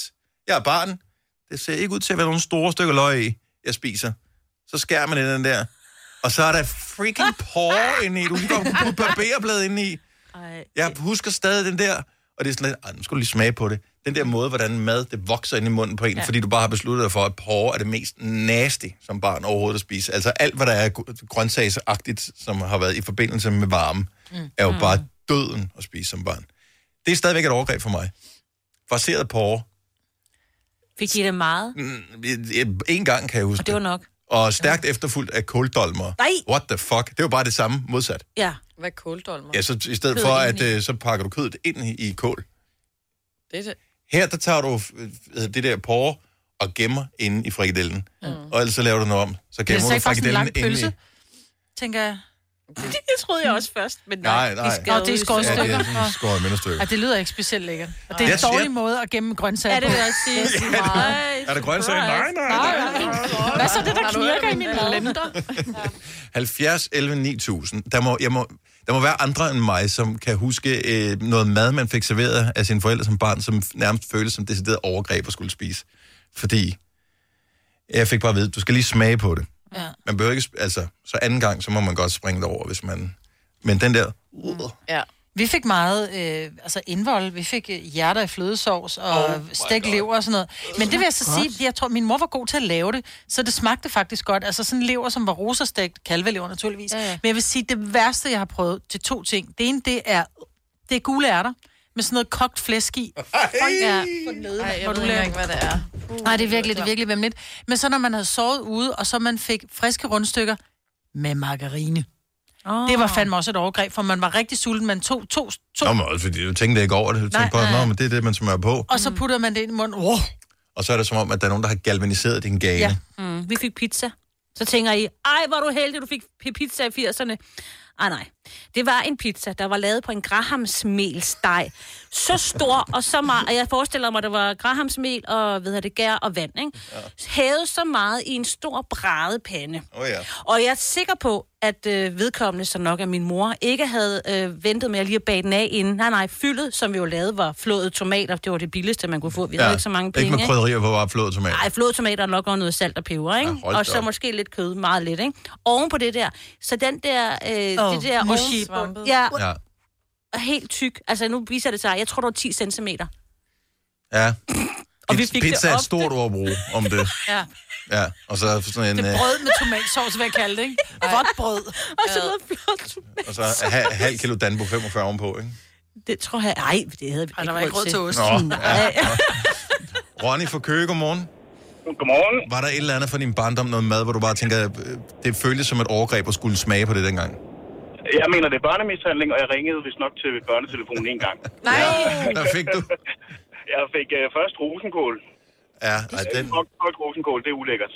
Speaker 1: Jeg er barn. Det ser ikke ud til at være nogle store stykker løg i, jeg spiser. Så skærer man i den der. Og så er der freaking porre inde i. Du kan lige godt kunne putte barberblad inde i. Jeg husker stadig den der, og det er sådan lidt, "Ej, nu skal du lige smage på det. Den der måde, hvordan mad det vokser ind i munden på en, ja.
Speaker 12: Ja.
Speaker 1: fordi du bare har besluttet dig for, at porre er det mest nasty som barn overhovedet at spise. Altså alt, hvad der er gr- grøntsagsagtigt, som har været i forbindelse med varme, mm. er jo mm. bare døden at spise som barn. Det er stadigvæk et overgreb for mig. Farseret porre.
Speaker 3: Fik de det meget?
Speaker 1: Mm, jeg- jeg- En gang kan jeg huske
Speaker 3: Og det var nok.
Speaker 1: Og stærkt efterfulgt af kåldolmer.
Speaker 3: Nej.
Speaker 1: What the fuck? Det var bare det samme modsat.
Speaker 3: Ja.
Speaker 4: Hvad er kåldolmer?
Speaker 1: Ja, så i stedet
Speaker 4: Kød
Speaker 1: for,
Speaker 4: ind
Speaker 1: at
Speaker 4: i.
Speaker 1: øh, så pakker du kødet ind i, i kål.
Speaker 4: Det er det.
Speaker 1: Her, der tager du øh, øh, det der porre og gemmer inde i frikadellen. Mm. Og ellers så laver du noget om. Så
Speaker 2: Det er
Speaker 1: gemmer
Speaker 2: så
Speaker 1: du
Speaker 2: ikke bare sådan en
Speaker 1: frikadellen
Speaker 2: lang
Speaker 1: inde i...
Speaker 2: pølse, tænker jeg.
Speaker 3: Det troede jeg også først, men
Speaker 1: Nej, nej.
Speaker 2: Nå, det er skåret
Speaker 1: Ja, det
Speaker 2: stykker.
Speaker 1: er sådan skåret mindre
Speaker 2: Ja,
Speaker 1: stykker.
Speaker 2: det lyder ikke specielt lækkert. Og det er
Speaker 1: Jeg
Speaker 2: en
Speaker 1: siger-
Speaker 2: dårlig måde at gemme grøntsager
Speaker 3: Ja, det vil jeg også sige.
Speaker 2: på.
Speaker 3: Ja,
Speaker 1: Er der grøntsager? Nej, nej.
Speaker 2: Hvad så det, der
Speaker 4: Har du
Speaker 2: knirker i
Speaker 4: hørt
Speaker 2: min
Speaker 4: om den?
Speaker 2: blender?
Speaker 1: 70, 11, 9000. Der må, jeg må, der må være andre end mig, som kan huske øh, noget mad, man fik serveret af sine forældre som barn, som nærmest føles som decideret overgreb at skulle spise. Fordi jeg fik bare at vide, du skal lige smage på det.
Speaker 2: Ja.
Speaker 1: Man behøver ikke, sp- altså, så anden gang, så må man godt springe det over, hvis man... Men den der... Uh,
Speaker 4: Ja.
Speaker 2: Vi fik meget øh, altså indvold. Vi fik øh, hjerter i flødesovs og
Speaker 1: Oh
Speaker 2: oh
Speaker 1: my
Speaker 2: stegt lever og sådan noget. Men det vil jeg så sige, jeg tror, min mor var god til at lave det, så det smagte faktisk godt. Altså sådan lever, som var rosastegt, kalvelever naturligvis. Ja, ja. Men jeg vil sige, det værste, jeg har prøvet til to ting. Det ene, det er, det er gule ærter med sådan noget kogt flæsk i.
Speaker 4: Ja.
Speaker 2: Ej,
Speaker 4: Ej,
Speaker 2: hvor
Speaker 4: jeg
Speaker 2: du
Speaker 4: ved ikke
Speaker 2: laver-
Speaker 4: engang, hvad det er. Uh,
Speaker 2: Nej, det er virkelig, det er virkelig vemmeligt. Men så når man havde sovet ude, og så man fik friske rundstykker med margarine.
Speaker 3: Ah.
Speaker 2: Oh. Det var fandme også et overgreb, for man var rigtig sulten. Man tog to, to
Speaker 1: Nå, men også fordi du tænkte ikke over det. Du
Speaker 2: Nej,
Speaker 1: tænkte bare,
Speaker 2: nej.
Speaker 1: nå, men det er det, man smører på.
Speaker 2: og så puttede man det ind i munden. Oh.
Speaker 1: Og så er det som om, at der er nogen, der har galvaniseret din gane.
Speaker 3: Ja. Mm, vi fik pizza. Så tænker I, ej, hvor er du heldig, du fik p- pizza i 80'erne. Ej, nej. Det var en pizza, der var lavet på en grahamsmelsteg. Så stor og så meget. Og jeg forestiller mig, der var grahamsmel og ved jeg det, gær og vand. Ikke? Ja. Hævet så meget i en stor brædepande.
Speaker 1: Oh, ja.
Speaker 3: Og jeg er sikker på, at øh, vedkommende, som nok er min mor, ikke havde øh, ventet med at lige at bage den af inden. Nej, nej, fyldet, som vi jo lavede, var flået tomater. Det var det billigste, man kunne få. Vi ja. havde ikke så mange penge.
Speaker 1: Ikke med krydderier på bare flåd tomat.
Speaker 3: Ej, flåede tomater og nok også noget salt og peber, ikke?
Speaker 1: hold
Speaker 3: Ja,
Speaker 1: da
Speaker 3: og så
Speaker 1: op.
Speaker 3: måske lidt kød, meget lidt, ikke? Oven på det der, så den der, øh,
Speaker 2: Åh,
Speaker 3: det der
Speaker 2: mushy.
Speaker 3: oven, ja,
Speaker 1: Ja.
Speaker 3: og helt tyk. Altså, nu viser det sig, jeg tror, det var 10 cm.
Speaker 1: ja.
Speaker 3: Og vi
Speaker 1: Pizza-
Speaker 3: fik det
Speaker 1: Pizza er et
Speaker 3: ofte.
Speaker 1: stort ord at bruge om det.
Speaker 2: Ja.
Speaker 1: Ja, og så sådan en...
Speaker 2: Det
Speaker 1: øh,
Speaker 2: er brød med tomatsovs, vil jeg kalde det, ikke? Vådt brød.
Speaker 3: Og så noget flot
Speaker 1: Og så ha- halv kilo Danbo 45 ovenpå, ikke?
Speaker 3: Det tror jeg, ej, det havde vi
Speaker 2: Ej, der var ikke råd til ost.
Speaker 1: Nå,
Speaker 3: Nej.
Speaker 1: Ronny fra Køge, godmorgen.
Speaker 14: Godmorgen.
Speaker 1: Var der et eller andet fra din barndom, noget mad, hvor du bare tænker, øh, det føltes som et overgreb at skulle smage på det dengang?
Speaker 14: Jeg mener, det er børnemishandling, og jeg ringede vist nok til børnetelefonen en gang.
Speaker 1: Nej! Der fik du.
Speaker 15: Jeg fik øh, først rosenkål.
Speaker 1: Ja, ej,
Speaker 15: Det er
Speaker 1: den,
Speaker 15: Kogt, kogt rosenkål, det er ulækkert.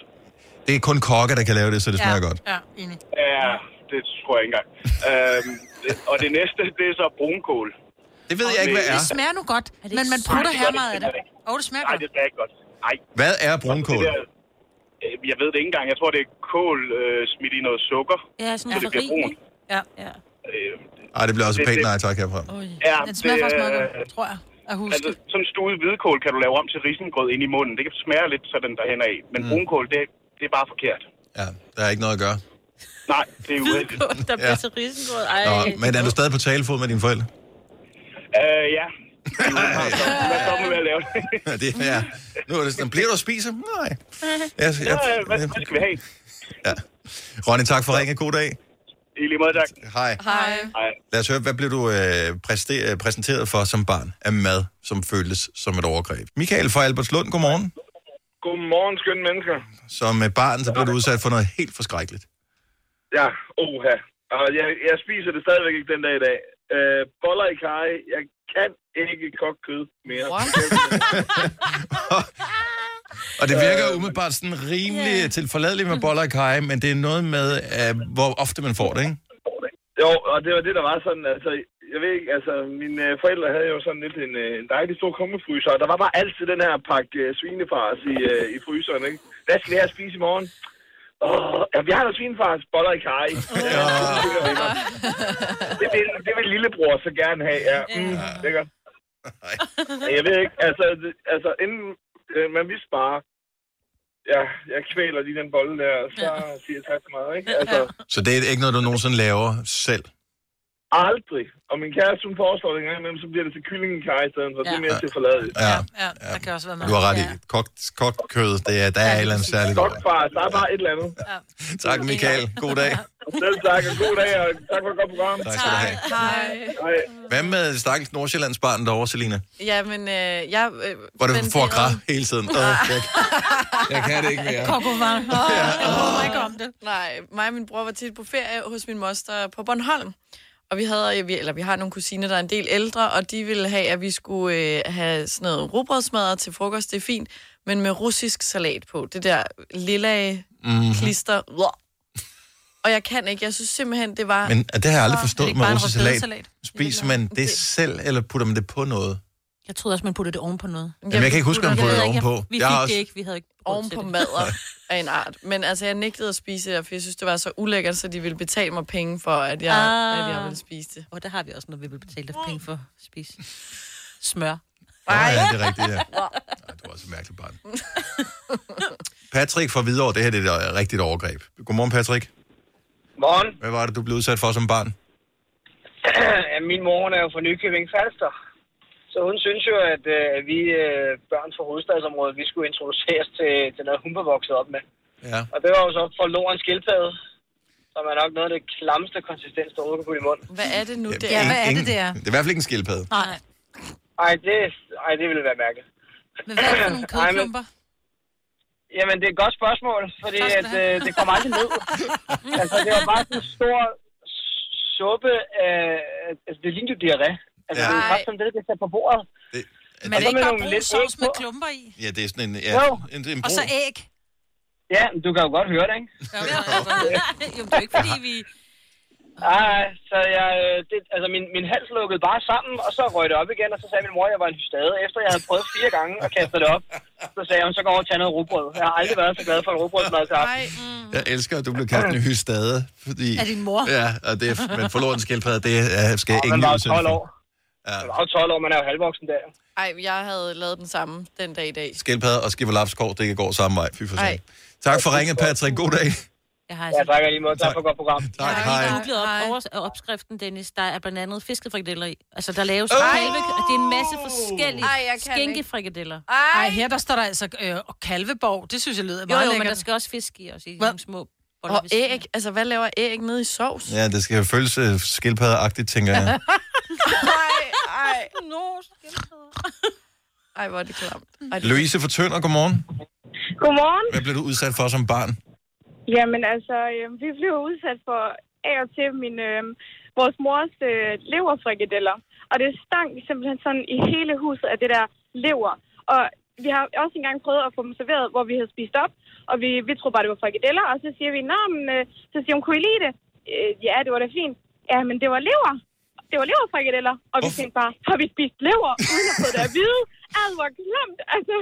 Speaker 1: det er kun kokke, der kan lave det, så det smager godt.
Speaker 2: Ja, enig.
Speaker 15: Ja, det tror jeg ikke engang. øhm, det, og det næste, det er så brunkål.
Speaker 1: Det ved jeg ikke, hvad
Speaker 2: Det smager nu godt, men man putter her meget af det. Åh, det smager
Speaker 15: Nej, det smager ikke godt. Ej.
Speaker 1: Hvad er brunkål?
Speaker 15: Det der, øh, jeg ved det ikke engang. Jeg tror, det er kål øh, smidt i noget sukker.
Speaker 3: Ja, sådan
Speaker 15: så det
Speaker 3: noget
Speaker 15: bliver
Speaker 3: farin,
Speaker 15: brunt.
Speaker 3: ikke? Ja, ja.
Speaker 15: Øh,
Speaker 1: Ej, det bliver også
Speaker 15: Det-
Speaker 1: pænt
Speaker 15: det-
Speaker 1: nej tak herfra.
Speaker 15: ja,
Speaker 2: Den smager
Speaker 15: det,
Speaker 2: faktisk meget
Speaker 15: øh,
Speaker 2: godt, tror jeg. At huske.
Speaker 15: Altså, sådan en stuet hvidkål kan du lave om til risengrød ind i munden. Det kan smage lidt sådan derhen af. Men mm. brunkål, det, det er bare forkert.
Speaker 1: Der er ikke noget at gøre.
Speaker 15: Nej, det er uheldigt.
Speaker 3: Der
Speaker 1: bliver Ja.
Speaker 3: til risengrød. Ej.
Speaker 1: Nå, men er du stadig på talefod med dine forældre?
Speaker 15: Øh, ja. Hvad stopper med at lave det?
Speaker 1: Ja, det er, nu er det sådan, bliver du at spise? Nej. Jeg,
Speaker 15: Nå, øh, hvad, hvad skal vi have?
Speaker 1: Ronny, tak for ringen. God dag.
Speaker 15: I lige måde, tak.
Speaker 1: Hej.
Speaker 15: Hej. Hej.
Speaker 1: Lad os høre, hvad blev du øh, præste- øh, præsenteret for som barn af mad, som føltes som et overgreb? Michael fra Albertslund, godmorgen.
Speaker 15: Godmorgen, skønne mennesker.
Speaker 1: Som øh, barn, så blev du udsat for noget helt forskrækkeligt.
Speaker 15: Ja, oha. Og jeg, jeg spiser det stadigvæk ikke den dag i dag. Øh, boller i kaj. Jeg kan ikke kogt kød mere.
Speaker 1: Og det
Speaker 4: Øh.
Speaker 1: virker umiddelbart sådan rimelig yeah. tilforladeligt med boller i kaj, men det er noget med, øh, hvor ofte man får det, ikke?
Speaker 15: Jo, og det var det, der var sådan, altså, jeg ved ikke, altså, mine øh, forældre havde jo sådan lidt en, øh, en dejlig stor kongefryser, og der var bare altid den her pakke øh, svinefars i, øh, i fryseren, ikke? Hvad skal jeg spise i morgen? Åh, ja, vi har da svinefars boller i kaj. Ja. det, vil, det vil lillebror så gerne have, ja. Mm, lækkert. Jeg ved ikke, altså, det- altså inden øh, man vidste bare, ja, jeg kvæler lige den bolle der, og så siger jeg tak så meget, ikke? Altså,
Speaker 1: Så det er ikke noget, du nogensinde laver selv.
Speaker 15: Aldrig. Og min kæreste, hun foreslår det en gang imellem, så bliver det til kyllingekaj i stedet for. Ja. Det er mere til forladet.
Speaker 1: Ja,
Speaker 2: Ja, der kan også være meget.
Speaker 1: du har ret i. Kogt, kogt kød, det er, der er et eller andet særligt over. det.
Speaker 15: Bare, der er bare et eller andet.
Speaker 1: Tak, Michael. God dag.
Speaker 15: Selv tak, og god dag, og tak for et godt program.
Speaker 1: Tak skal du have.
Speaker 4: Hej.
Speaker 1: Hvad med stakkels Nordsjællands barn derovre, Selina?
Speaker 4: Ja, men øh, jeg... Øh,
Speaker 1: Hvor du
Speaker 4: men
Speaker 1: får
Speaker 4: det-
Speaker 1: græd hele tiden. Åh, jeg, jeg kan det ikke mere.
Speaker 2: Kokovang. Åh, jeg bryder mig ikke om det.
Speaker 4: Nej, mig og min bror var tit på ferie hos min moster på Bornholm. Og vi havde, ja, vi- eller vi har nogle kusiner, der er en del ældre, og de ville have, at vi skulle øh, have sådan noget rugbrødsmadder til frokost, det er fint, men med russisk salat på. Det der lilla
Speaker 1: Mhm.
Speaker 4: mm-hmm. klister. Uah. Og jeg kan ikke, jeg synes simpelthen, det var...
Speaker 1: Men øh, det har jeg aldrig
Speaker 4: så-
Speaker 1: forstået med russisk salat. Spiser man det selv, eller putter man det på noget?
Speaker 3: Jeg troede også, man puttede det ovenpå noget.
Speaker 1: Jamen, jeg kan ikke huske, om man puttede det ovenpå.
Speaker 3: Vi
Speaker 1: Jeg
Speaker 3: fik
Speaker 1: har
Speaker 3: det
Speaker 1: også-
Speaker 3: ikke. Vi havde ikke
Speaker 4: oven på mader af en art. Men altså, jeg nægtede at spise det der, for jeg synes, det var så ulækkert, så de ville betale mig penge for, at jeg, ah. at jeg ville spise det.
Speaker 3: Og der har vi også noget, vi vil betale dig penge for at spise. Smør.
Speaker 1: Nej, ja, det er rigtigt, ja. Ej, du var også et mærkeligt barn. Patrick fra Hvidovre, det her det er et øh, rigtigt overgreb. Godmorgen, Patrick.
Speaker 16: Morgen.
Speaker 1: Hvad var det, du blev udsat for som barn?
Speaker 16: Ja, Min mor hun er jo fra Nykøbing Falster. Så hun synes jo, at, øh, at vi øh, børn fra hovedstadsområdet, vi skulle introduceres til, til noget, hun var vokset op med.
Speaker 1: Ja.
Speaker 16: Og det var jo så for lorens skildpadde, som er nok noget af det klamste konsistens, der overhovedet kan putte i munden.
Speaker 4: Hvad er det nu, det
Speaker 2: Ja, hvad er det, det er?
Speaker 1: Det er i hvert fald ikke en skildpadde.
Speaker 2: Nej.
Speaker 16: Ej, det, ej, det ville være mærkeligt.
Speaker 2: Men hvad er det for nogle
Speaker 16: Ej, men-
Speaker 2: kødklumper?
Speaker 16: Jamen, det er et godt spørgsmål, fordi
Speaker 2: Tak skal
Speaker 16: at,
Speaker 2: du have.
Speaker 16: øh, det kommer aldrig ned. altså, det var bare sådan en stor s- suppe af... Altså, det lignede jo diarré. Altså,
Speaker 1: Ja.
Speaker 16: det er
Speaker 1: Ej.
Speaker 16: godt som det, der bliver sat på bordet.
Speaker 2: Men er det
Speaker 16: Og så
Speaker 2: ikke
Speaker 16: med
Speaker 2: bare
Speaker 16: nogle
Speaker 2: brun
Speaker 16: lidt
Speaker 2: sovs
Speaker 16: æg
Speaker 2: med
Speaker 16: på.
Speaker 2: klumper i?
Speaker 1: Ja, det er sådan en, ja,
Speaker 16: Jo.
Speaker 1: en, en
Speaker 2: Og så
Speaker 1: brun.
Speaker 2: æg.
Speaker 16: Ja, men du kan jo godt høre det, ikke?
Speaker 3: jo, altså, det er ikke, fordi vi...
Speaker 16: Nej, så jeg, øh, det, altså min, min hals lukkede bare sammen, og så røg det op igen, og så sagde min mor, at jeg var en hystade. Efter jeg havde prøvet fire gange at kaste det op, så sagde hun, så går over og tager noget rugbrød. Jeg har aldrig været så glad for en rugbrødsmad til aften.
Speaker 1: Jeg elsker, at du blev kaldt en hystade. Fordi...
Speaker 16: Mm. Af din mor.
Speaker 1: Ja, og det er, men forlod en skildpadde, det er, skal jeg
Speaker 16: Og
Speaker 1: ingen
Speaker 16: man var jo
Speaker 1: udsætte
Speaker 16: 12
Speaker 1: for.
Speaker 16: år.
Speaker 1: Ja.
Speaker 16: Jeg var jo 12 år, man er jo halvvoksen der.
Speaker 4: Ej, jeg havde lavet den samme den dag i dag.
Speaker 1: Skildpadde og skibberlapskov, det går samme vej. Fy for
Speaker 4: Ej.
Speaker 1: satan. Tak for ringet, Patrick. God dag.
Speaker 3: Jeg har
Speaker 16: Ja, tak lige måde. Tak for et godt program.
Speaker 1: Tak, hej.
Speaker 3: Jeg googlede op, over, opskriften, Dennis. Der er blandt andet fiskefrikadeller i. Altså, der laves
Speaker 2: Åh!
Speaker 3: kalve, og det er en masse forskellige
Speaker 2: Ej, jeg kan
Speaker 3: skinkefrikadeller.
Speaker 2: Ej, her der står der altså øh, og kalveborg. Det synes jeg lyder
Speaker 3: Jo,
Speaker 2: meget
Speaker 3: jo, men
Speaker 2: lækkert.
Speaker 3: der skal også fisk i, også i
Speaker 2: Hvad?
Speaker 3: nogle små boller
Speaker 4: Og
Speaker 3: ved siden af.
Speaker 4: æg, altså hvad laver æg nede i sovs?
Speaker 1: Ja, det skal føles øh, skildpaddeagtigt, tænker jeg.
Speaker 4: ej, ej. No, ej, hvor er det klamt. Ej, det...
Speaker 1: Louise for Tønder, godmorgen.
Speaker 17: Godmorgen.
Speaker 1: Hvad blev du udsat for som barn?
Speaker 17: Jamen altså, øh, vi blev udsat for af og til min, øh, vores mors øh, leverfrikadeller. Og det stank simpelthen sådan i hele huset af det der lever. Og vi har også engang prøvet at få dem serveret, hvor vi havde spist op, og vi, vi troede bare, det var frikadeller, og så siger vi, Nå, men, øh, så siger hun, kunne I lide det? Øh, ja, det var da fint. Ja, men det var lever. Det var leverfrikadeller. Og vi tænkte bare, har vi spist lever, uden at få det at vide? Alt var klamt, altså.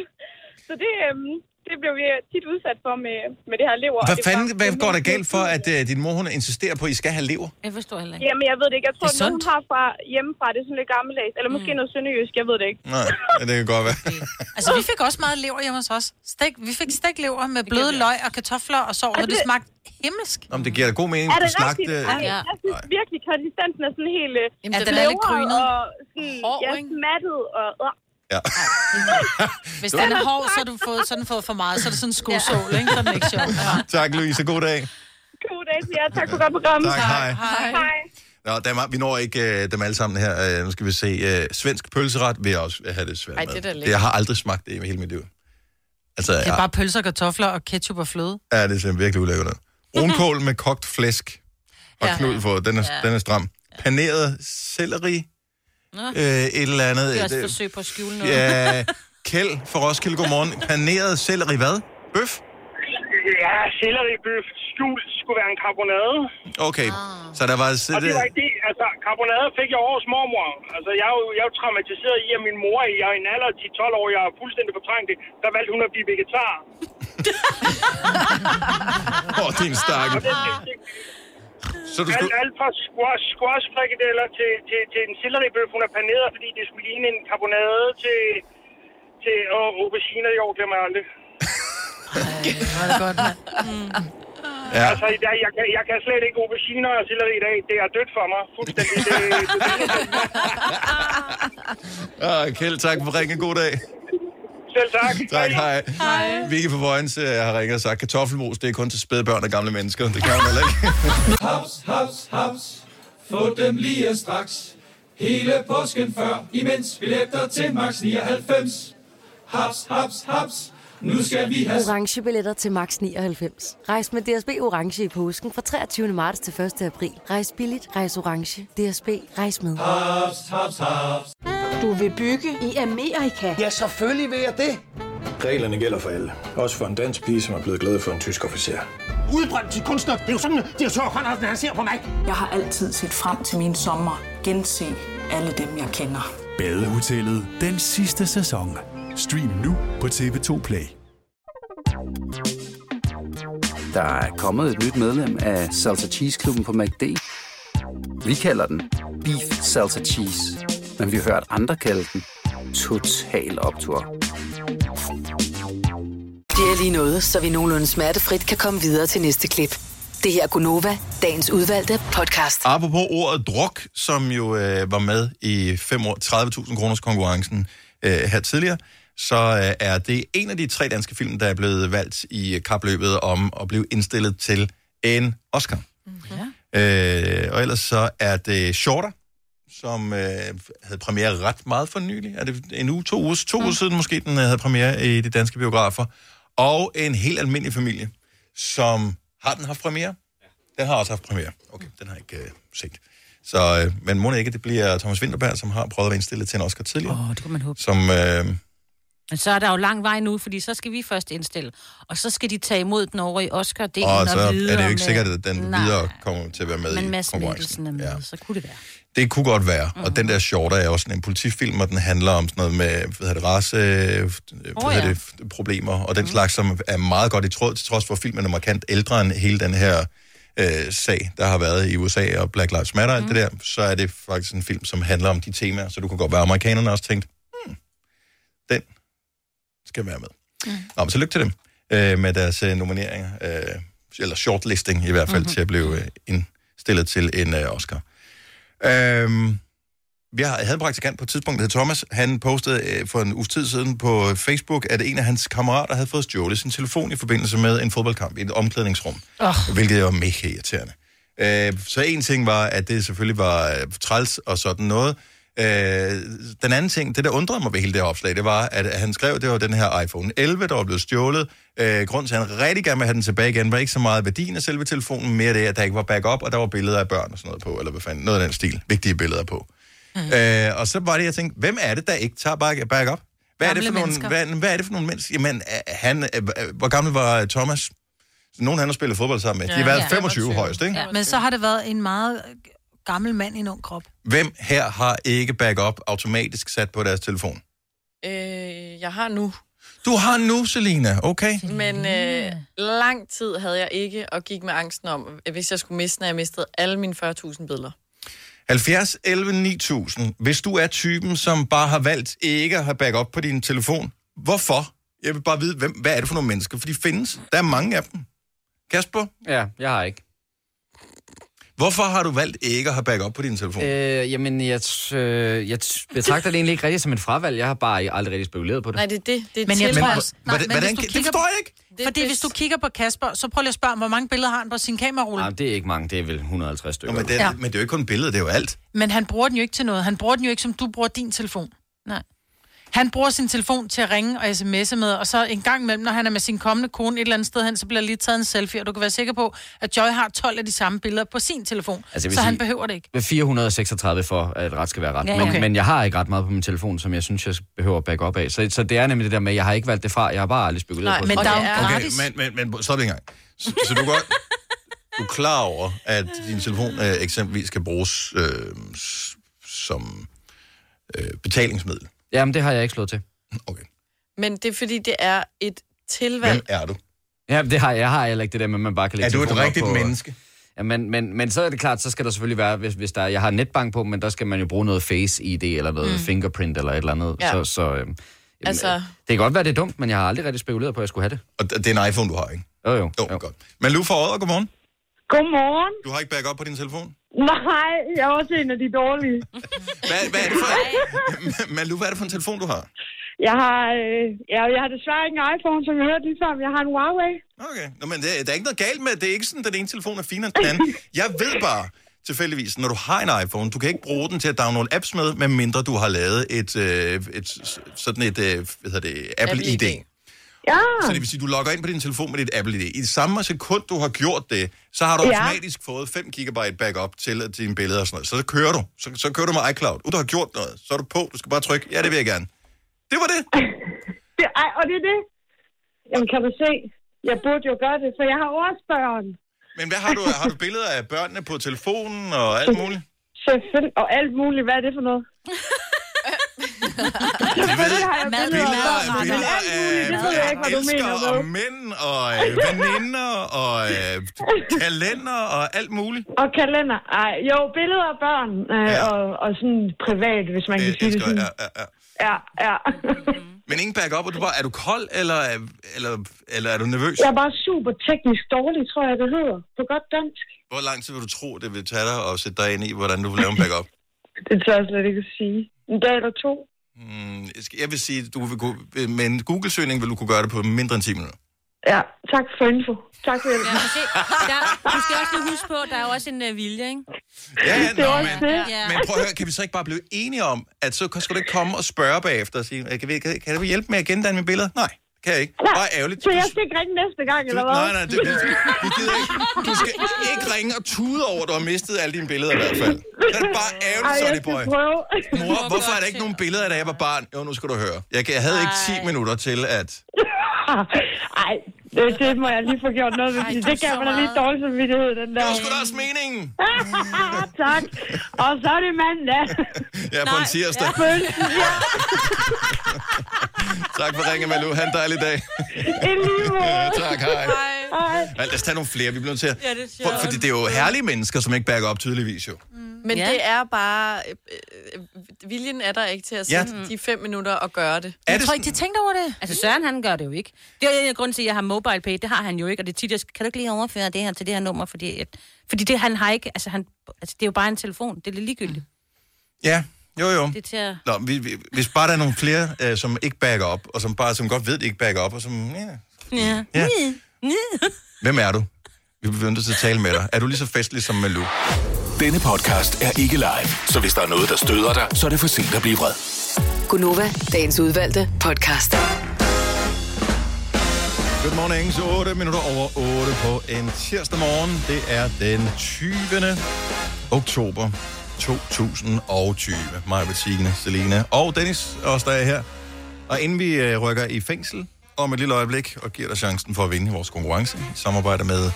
Speaker 17: Så det, øhm, det blev vi tit udsat for med, med det her lever. og
Speaker 1: Hvad
Speaker 17: det var
Speaker 1: fanden hvad går der
Speaker 17: rimelig
Speaker 1: galt for, at øh, din mor hun insisterer på, at I skal have lever?
Speaker 3: Jeg forstår heller
Speaker 17: Jamen, jeg ved det ikke. Jeg tror,
Speaker 1: Det er
Speaker 17: det nogen har fra hjemmefra. Det er sådan lidt gammeldags. Eller måske noget sønderjysk. Jeg ved det ikke.
Speaker 1: Nej, det kan godt være.
Speaker 2: Altså, vi fik også meget lever hjemme hos os. Stik, vi fik stiklever med bløde løg og kartofler og sovs, og det smagte himmelsk.
Speaker 1: Nå, men det giver da god mening.
Speaker 17: Er det
Speaker 1: Du øh, slagte-
Speaker 17: rigtigt? Ej,
Speaker 2: Ja.
Speaker 17: Jeg synes virkelig, konsistensen er sådan helt... øh,
Speaker 2: Jamen, den er lidt
Speaker 17: knævret
Speaker 2: grynet.
Speaker 17: Og sådan, ja, smattet og... Øh.
Speaker 2: Hvis den er hård, så har du fået, så har den fået for meget, så er det sådan en skosål, ikke? Så er den ikke sjov.
Speaker 1: Tak, Louise. God dag.
Speaker 17: God dag til jer. Tak for godt program.
Speaker 1: Tak, hej.
Speaker 17: Hej. hej.
Speaker 1: Nå, der er, meget- vi når ikke øh, dem alle sammen her. Øh, nu skal vi se. Øh, svensk pølseret vil jeg også have det svært
Speaker 2: Ej,
Speaker 1: med.
Speaker 2: det er da lækkert.
Speaker 1: jeg har aldrig smagt det i hele mit liv. Altså,
Speaker 2: Det er bare pølser, kartofler og ketchup og fløde.
Speaker 1: Ja, det er simpelthen virkelig ulækkert. Brunkål med kogt flæsk og
Speaker 2: Ja.
Speaker 1: knud på, den er,
Speaker 3: Ja.
Speaker 1: den er stram. Paneret selleri,
Speaker 3: Nå.
Speaker 1: øh, et eller andet.
Speaker 3: Det er også
Speaker 1: øh,
Speaker 3: et forsøg på at skjule noget.
Speaker 1: Ja, Kjeld fra Roskilde, godmorgen. Paneret selleri hvad? Bøf?
Speaker 18: Ja, selleribøf skjul skulle være en karbonade.
Speaker 1: Okay, så der var... Så
Speaker 18: Og det var ikke det. Altså, karbonade fik jeg over hos mormor. Altså, jeg er jo, jeg er jo traumatiseret i, at min mor, jeg er i en alder af 10-12 år, jeg er fuldstændig fortrængt det. Der valgte hun at blive vegetar.
Speaker 1: Åh, oh, din stakkel. Så du skulle...
Speaker 18: alt, alt fra squash, squash frikadeller til, til, til en selleribøf, hun er paneret, fordi det skulle ligne en karbonade til, til åh, aubergine i år, glemmer jeg aldrig.
Speaker 2: Var det godt, mand.
Speaker 1: Ja.
Speaker 18: Altså, i dag, jeg, kan, jeg kan slet ikke auberginer og selleri i dag. Det er dødt for mig. Fuldstændig. Det, det,
Speaker 1: Ah, Kjeld, tak for ringen. God dag.
Speaker 18: Selv tak.
Speaker 1: Tak, hej. hej. Vicky fra Vojens øh, har ringet og sagt, kartoffelmos, det er kun til spædbørn og gamle mennesker. Det kan man heller ikke.
Speaker 9: Haps, haps, haps. Få dem lige straks. Hele påsken før, imens billetter til max 99. Haps, haps, haps. Nu skal vi have
Speaker 19: orange billetter til max 99. Rejs med DSB orange i påsken fra 23. marts til 1. april. Rejs billigt, rejs orange. DSB rejs med.
Speaker 9: Haps, haps, haps.
Speaker 20: Du vil bygge i Amerika? Ja, selvfølgelig vil jeg det.
Speaker 21: Reglerne gælder for alle. Også for en dansk pige, som er blevet glad for en tysk officer.
Speaker 22: Udbrændt til kunstner. Det er jo sådan, at de har tørt, Andersen, han ser på mig. Jeg har altid set frem til min sommer. Gense alle dem, jeg kender.
Speaker 10: Badehotellet den sidste sæson. Stream nu på TV2 Play.
Speaker 23: Der er kommet et nyt medlem af Salsa Cheese Klubben på MACD. Vi kalder den Beef Salsa Cheese, men vi har hørt andre kalde den Total Optor.
Speaker 5: Det er lige noget, så vi nogenlunde smertefrit kan komme videre til næste klip. Det her er Gunova, dagens udvalgte podcast.
Speaker 1: Apropos ordet druk, som jo øh, var med i fem år, 30.000 kroners konkurrencen øh, her tidligere, så øh, er det en af de tre danske film, der er blevet valgt i øh, kapløbet om at blive indstillet til en Oscar. Mm-hmm. Øh, og ellers så er det Shorter, som øh, havde premiere ret meget for nylig. Er det en uge, to uger, to uger siden måske, den øh, havde premiere i de danske biografer. Og en helt almindelig familie, som har den haft premiere. Den har også haft premiere. Okay, den har jeg ikke øh, set. Så, øh, men må det ikke, det bliver Thomas Winterberg, som har prøvet at være indstillet til en Oscar tidligere. Åh, oh, det
Speaker 3: kan man håbe.
Speaker 1: Som, øh,
Speaker 3: Men så er der jo lang vej nu, fordi så skal vi først indstille. Og så skal de tage imod den over i Oscar. Det er
Speaker 1: og så er det jo ikke sikkert, at den
Speaker 3: øh, Nej,
Speaker 1: videre kommer til at være med i
Speaker 3: men Mads
Speaker 1: konkurrencen.
Speaker 3: Mikkelsen er med, ja. så kunne det være.
Speaker 1: Det kunne godt være.
Speaker 3: Mhm.
Speaker 1: Mm. Og den der shorter er også sådan en politifilm, og den handler om sådan noget med hvad hedder det, race, øh, hvad
Speaker 3: Åh,
Speaker 1: hedder
Speaker 3: ja. Mhm.
Speaker 1: det, f- problemer og den mm. slags, som er meget godt i tråd, til trods for at filmen er markant ældre end hele den her øh, sag, der har været i USA og Black Lives Matter og alt det
Speaker 3: Mhm.
Speaker 1: der, så er det faktisk en film, som handler om de temaer, så du kunne godt være, at amerikanerne også tænkte, hmm, den skal være med. Mm.
Speaker 3: Mhm.
Speaker 1: Nå, men så lykke til dem øh, med deres øh, nomineringer, øh, eller shortlisting i hvert
Speaker 3: Mhm.
Speaker 1: fald, mm-hmm. til at blive øh, indstillet til en øh, Oscar. Øhm, vi har- havde en praktikant på et tidspunkt, der hed Thomas. Han postede øh, for en uges tid siden på Facebook, at en af hans kammerater havde fået stjålet sin telefon i forbindelse med en fodboldkamp i et omklædningsrum, oh. hvilket var mega irriterende. Øh, så en ting var, at det selvfølgelig var øh, træls og sådan noget. Øh, den anden ting, det der undrede mig ved hele det her opslag, det var, at han skrev, det var den her iPhone 11, der var blevet stjålet. Øh, grunden til, at han rigtig gerne vil have den tilbage igen, var ikke så meget værdien af selve telefonen, mere det, at der ikke var backup, og der var billeder af børn og sådan noget på, eller hvad fanden, noget af den stil, vigtige billeder på. Mm. Øh, og så var det, jeg tænkte, hvem er det, der ikke tager back- backup? Hvad er, det
Speaker 2: Gamle
Speaker 1: for nogle,
Speaker 2: mennesker.
Speaker 1: hvad, hvad er det for nogle mennesker? Jamen, øh, han, øh, øh, hvor gammel var øh, Thomas? Nogen han har spillet fodbold sammen med. De har været 25 højst, ikke?
Speaker 2: Men så har det været en meget øh, gammel mand i en ung krop.
Speaker 1: Hvem her har ikke backup automatisk sat på deres telefon?
Speaker 4: Øh, jeg har nu.
Speaker 1: Du har nu, Selina. Okay.
Speaker 4: Men øh, lang tid havde jeg ikke, og gik med angsten om, at hvis jeg skulle miste, når jeg mistede alle mine 40.000 billeder.
Speaker 1: 70 11 9000. Hvis du er typen, som bare har valgt ikke at have backup på din telefon, hvorfor? Jeg vil bare vide, hvem, hvad er det for nogle mennesker? For de findes. Der er mange af dem. Kasper?
Speaker 7: Ja, jeg har ikke.
Speaker 1: Hvorfor har du valgt ikke at have backup på din telefon?
Speaker 7: Øh, jamen, jeg, t- øh, jeg t- betragter det egentlig ikke rigtigt som et fravalg. Jeg har bare aldrig rigtig spekuleret på det.
Speaker 4: Nej, det er det. det er
Speaker 2: Men jeg
Speaker 4: til-
Speaker 2: tror også...
Speaker 7: Men hvordan- hvordan kan- det forstår jeg
Speaker 1: ikke.
Speaker 2: Fordi hvis du kigger på Kasper, så prøv lige at spørge, ham, hvor mange billeder har han på sin kamerarulle?
Speaker 7: Nej, det er ikke mange. Det er vel 150 stykker.
Speaker 1: men, det er,
Speaker 2: Ja.
Speaker 1: ja. men det er jo ikke kun billedet, det er jo alt.
Speaker 2: Men han bruger den jo ikke til noget. Han bruger den jo ikke, som du bruger din telefon. Nej. Han bruger sin telefon til at ringe og sms'e med, og så en gang imellem, når han er med sin kommende kone et eller andet sted hen, så bliver der lige taget en selfie, og du kan være sikker på, at Joy har 12 af de samme billeder på sin telefon,
Speaker 7: Altså,
Speaker 2: altså,
Speaker 7: jeg
Speaker 2: så
Speaker 7: vil
Speaker 2: sige... han
Speaker 7: sige-
Speaker 2: behøver det ikke.
Speaker 7: 436 for, at ret skal være ret.
Speaker 2: Ja,
Speaker 7: Ja,
Speaker 2: ja.
Speaker 7: ja.
Speaker 2: Okay.
Speaker 7: Men, men jeg har ikke ret meget på min telefon, som jeg synes, jeg behøver at back op af. Så, så det er nemlig det der med, at jeg har ikke valgt det fra. Jeg har bare aldrig spekuleret
Speaker 2: Nej,
Speaker 7: på
Speaker 2: men
Speaker 7: det.
Speaker 2: der er jo Okay, gratis.
Speaker 1: Men, men, men stop lige en gang. Så, så du er godt... Du er klar over, at din telefon øh, eksempelvis kan bruges øh, s- som øh, betalingsmiddel.
Speaker 7: Jamen, det har jeg ikke slået til.
Speaker 4: Men det er, fordi det er et tilvalg.
Speaker 1: Hvem er du?
Speaker 7: Ja, det har jeg, jeg har heller ikke det der med, at man bare kan lægge
Speaker 1: Er du et
Speaker 7: telefonen op
Speaker 1: rigtigt
Speaker 7: på, øh,
Speaker 1: menneske?
Speaker 7: Ja, men, men, men så er det klart, så skal der selvfølgelig være, hvis, hvis der, er- jeg har netbank på, men der skal man jo bruge noget Face ID eller noget
Speaker 4: Mm.
Speaker 7: mm. fingerprint eller et eller andet.
Speaker 4: Ja.
Speaker 7: Ja. Så, så øhm,
Speaker 1: øh,
Speaker 4: Altså,
Speaker 7: det kan godt være, det er dumt, men jeg har aldrig rigtig spekuleret på, at jeg skulle have det.
Speaker 1: Og det er en iPhone, du har, ikke?
Speaker 7: Jo, jo.
Speaker 1: Jo, jo. godt. Men Lou fra Odder, godmorgen.
Speaker 6: Godmorgen.
Speaker 1: Du har ikke backup på din telefon?
Speaker 6: Nej, jeg er også en af de dårlige.
Speaker 1: Hvad, hvad er det for, men Lou, hvad er det for en telefon, du har?
Speaker 6: Jeg har, øh, jeg, jeg har desværre ikke en iPhone, som jeg hørte lige før, men jeg har en Huawei.
Speaker 1: Okay. Nå, men det, der er ikke noget galt med, det. det er ikke sådan, at den ene telefon er finere end den anden. Jeg ved bare, tilfældigvis, når du har en iPhone, du kan ikke bruge den til at downloade apps med, medmindre du har lavet et, øh, et s- sådan et, øh, hvad hedder det, Apple ID.
Speaker 6: Ja.
Speaker 1: Så det vil sige, du logger ind på din telefon med dit Apple ID. I samme sekund, du har gjort det, så har du
Speaker 6: Ja.
Speaker 1: automatisk fået 5 GB backup til at dine billeder og sådan noget. Så, så kører du. Så, så kører du med iCloud. Uden du har gjort noget, så er du på. Du skal bare trykke, ja, det vil jeg gerne. Det var det.
Speaker 6: det ej, og det er det. Jamen, kan du se? Jeg burde jo gøre det, for jeg har også børn.
Speaker 1: Men hvad har du? Har du billeder af børnene på telefonen og alt muligt?
Speaker 6: Selvfølgelig. Og alt muligt. Hvad er det for noget? Selvfølgelig har jeg billeder af
Speaker 1: Billeder,
Speaker 6: børn. Men
Speaker 1: billeder
Speaker 6: alt muligt, det ved jeg
Speaker 1: af,
Speaker 6: ikke,
Speaker 1: af
Speaker 6: hvad du mener
Speaker 1: elskere
Speaker 6: med.
Speaker 1: og mænd og øh, veninder og øh, kalender og alt muligt.
Speaker 6: Og kalender. Ej, jo, billeder af børn. Øh,
Speaker 1: Ja.
Speaker 6: og, og sådan privat, hvis man kan sige det
Speaker 1: Øh, elsker,
Speaker 6: sådan.
Speaker 1: ja, ja, ja.
Speaker 6: ja, ja.
Speaker 1: Men ingen backup, og du bare, er du kold, eller, øh, eller, eller er du nervøs?
Speaker 6: Jeg er bare super teknisk dårlig, tror jeg, det hedder. På godt dansk.
Speaker 1: Hvor lang tid vil du tro, det vil tage dig og sætte dig ind i, hvordan du vil lave en backup?
Speaker 6: Det tør jeg slet ikke at sige. En dag eller to.
Speaker 1: Mm, Jeg vil sige, du vil kunne, med en Google-søgning vil du kunne gøre det på mindre end 10 minutter.
Speaker 6: Ja, tak for info. Tak for hjælpen.
Speaker 3: Se, der, du skal også lige huske på, der er jo også en uh, vilje, ikke?
Speaker 1: Ja, ja,
Speaker 6: Det er
Speaker 1: nå,
Speaker 6: også
Speaker 1: men,
Speaker 6: det.
Speaker 1: men prøv at høre, kan vi så ikke bare blive enige om, at så skal du ikke komme og spørge bagefter og sige, kan, vi, kan, kan du hjælpe med at gendanne mine billeder? Nej, kan jeg ikke. Bare ærgerligt.
Speaker 6: Så jeg skal ikke ringe næste gang,
Speaker 1: Du-
Speaker 6: eller hvad?
Speaker 1: nej, nej, det, det, vi gider ikke. Du skal ikke ringe og tude over, at du har mistet alle dine billeder i hvert fald. Det er bare ærgerligt, Sonny Boy. Mor, hvorfor er der ikke nogen billeder af, da jeg var barn? Jo, nu skal du høre. Jeg, kan- jeg havde ikke 10 minutter til at...
Speaker 6: Ej, det, det må jeg lige få gjort noget ved, fordi
Speaker 22: du
Speaker 6: det
Speaker 22: er
Speaker 6: gav
Speaker 22: så
Speaker 6: mig da lidt
Speaker 22: meget.
Speaker 6: dårlig samvittighed, den der.
Speaker 1: Det var sgu da også meningen.
Speaker 6: tak. Og så er det mandag.
Speaker 1: Jeg er på en tirsdag.
Speaker 6: Følelsen, ja.
Speaker 1: Tak for ringen, Malu. Ha' en dejlig dag.
Speaker 6: I lige måde.
Speaker 1: Tak, hej.
Speaker 6: Hej.
Speaker 1: Ja, Lad os tage nogle flere, vi bliver nødt til at...
Speaker 4: Ja, det er sjovt.
Speaker 1: For, fordi det er jo herlige mennesker, som ikke backer op tydeligvis jo.
Speaker 4: Men
Speaker 2: Ja.
Speaker 4: ja. det er bare... øh, Øh, viljen er der ikke til at
Speaker 1: Ja.
Speaker 4: sætte de fem minutter og gøre det.
Speaker 1: Er Jeg det tror
Speaker 3: ikke,
Speaker 2: de tænkte over det.
Speaker 3: Altså, Søren, han gør det jo ikke. Det er en af grunden til, at jeg har mobile pay. Det har han jo ikke, og det er tit, jeg skal, kan du ikke lige overføre det her til det her nummer, fordi, at, fordi det, han har ikke... Altså, han, altså, det er jo bare en telefon. Det er lidt ligegyldigt.
Speaker 1: Ja, jo jo.
Speaker 3: Det er til at...
Speaker 1: Nå, vi, vi, hvis bare der er nogle flere, øh, som ikke backer op, og som bare som godt ved, de ikke backer op, og som... Ja.
Speaker 3: Ja.
Speaker 1: Ja.
Speaker 3: ja.
Speaker 1: Hvem er du? Vi bliver nødt til at tale med dig. Er du lige så festlig som Malou?
Speaker 10: Denne podcast er ikke live, så hvis der er noget, der støder dig, så er det for sent at blive vred.
Speaker 5: Gunova, dagens udvalgte podcast.
Speaker 1: Good morning, så 8 minutter over 8 på en tirsdag morgen. Det er den 20. oktober 2020. Mig, Bettine, Selina og Dennis, også der er her. Og inden vi øh, rykker i fængsel om et lille øjeblik og giver dig chancen for at vinde vores konkurrence i samarbejde med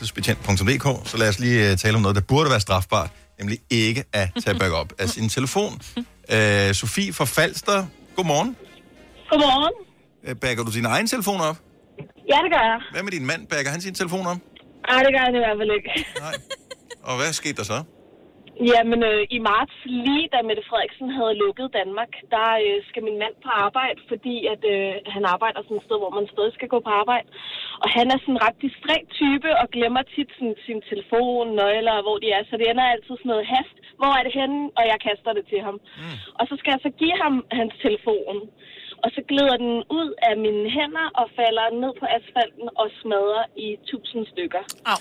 Speaker 1: livfængselsbetjent.dk, så lad os lige øh, tale om noget, der burde være strafbart, nemlig ikke at tage backup af sin telefon. Øh, Sofie fra Falster, godmorgen.
Speaker 8: Godmorgen.
Speaker 1: Øh, Backer du din egen telefon op?
Speaker 8: Ja, det gør jeg.
Speaker 1: Hvad med din mand? Backer han sin telefon op?
Speaker 8: Ej, det gør jeg i hvert fald ikke.
Speaker 1: Og hvad skete der så?
Speaker 8: Jamen, øh, i marts, lige da Mette Frederiksen havde lukket Danmark, der øh, skal min mand på arbejde, fordi at øh, han arbejder sådan et sted, hvor man stadig skal gå på arbejde. Og han er sådan en ret distræt type og glemmer tit sådan, sin telefon, nøgler og hvor de er. Så det ender altid sådan noget hast. Hvor er det henne? Og jeg kaster det til ham. Mm. Og så skal jeg så give ham hans telefon. Og så glider den ud af mine hænder og falder ned på asfalten og smadrer i tusind stykker. Au.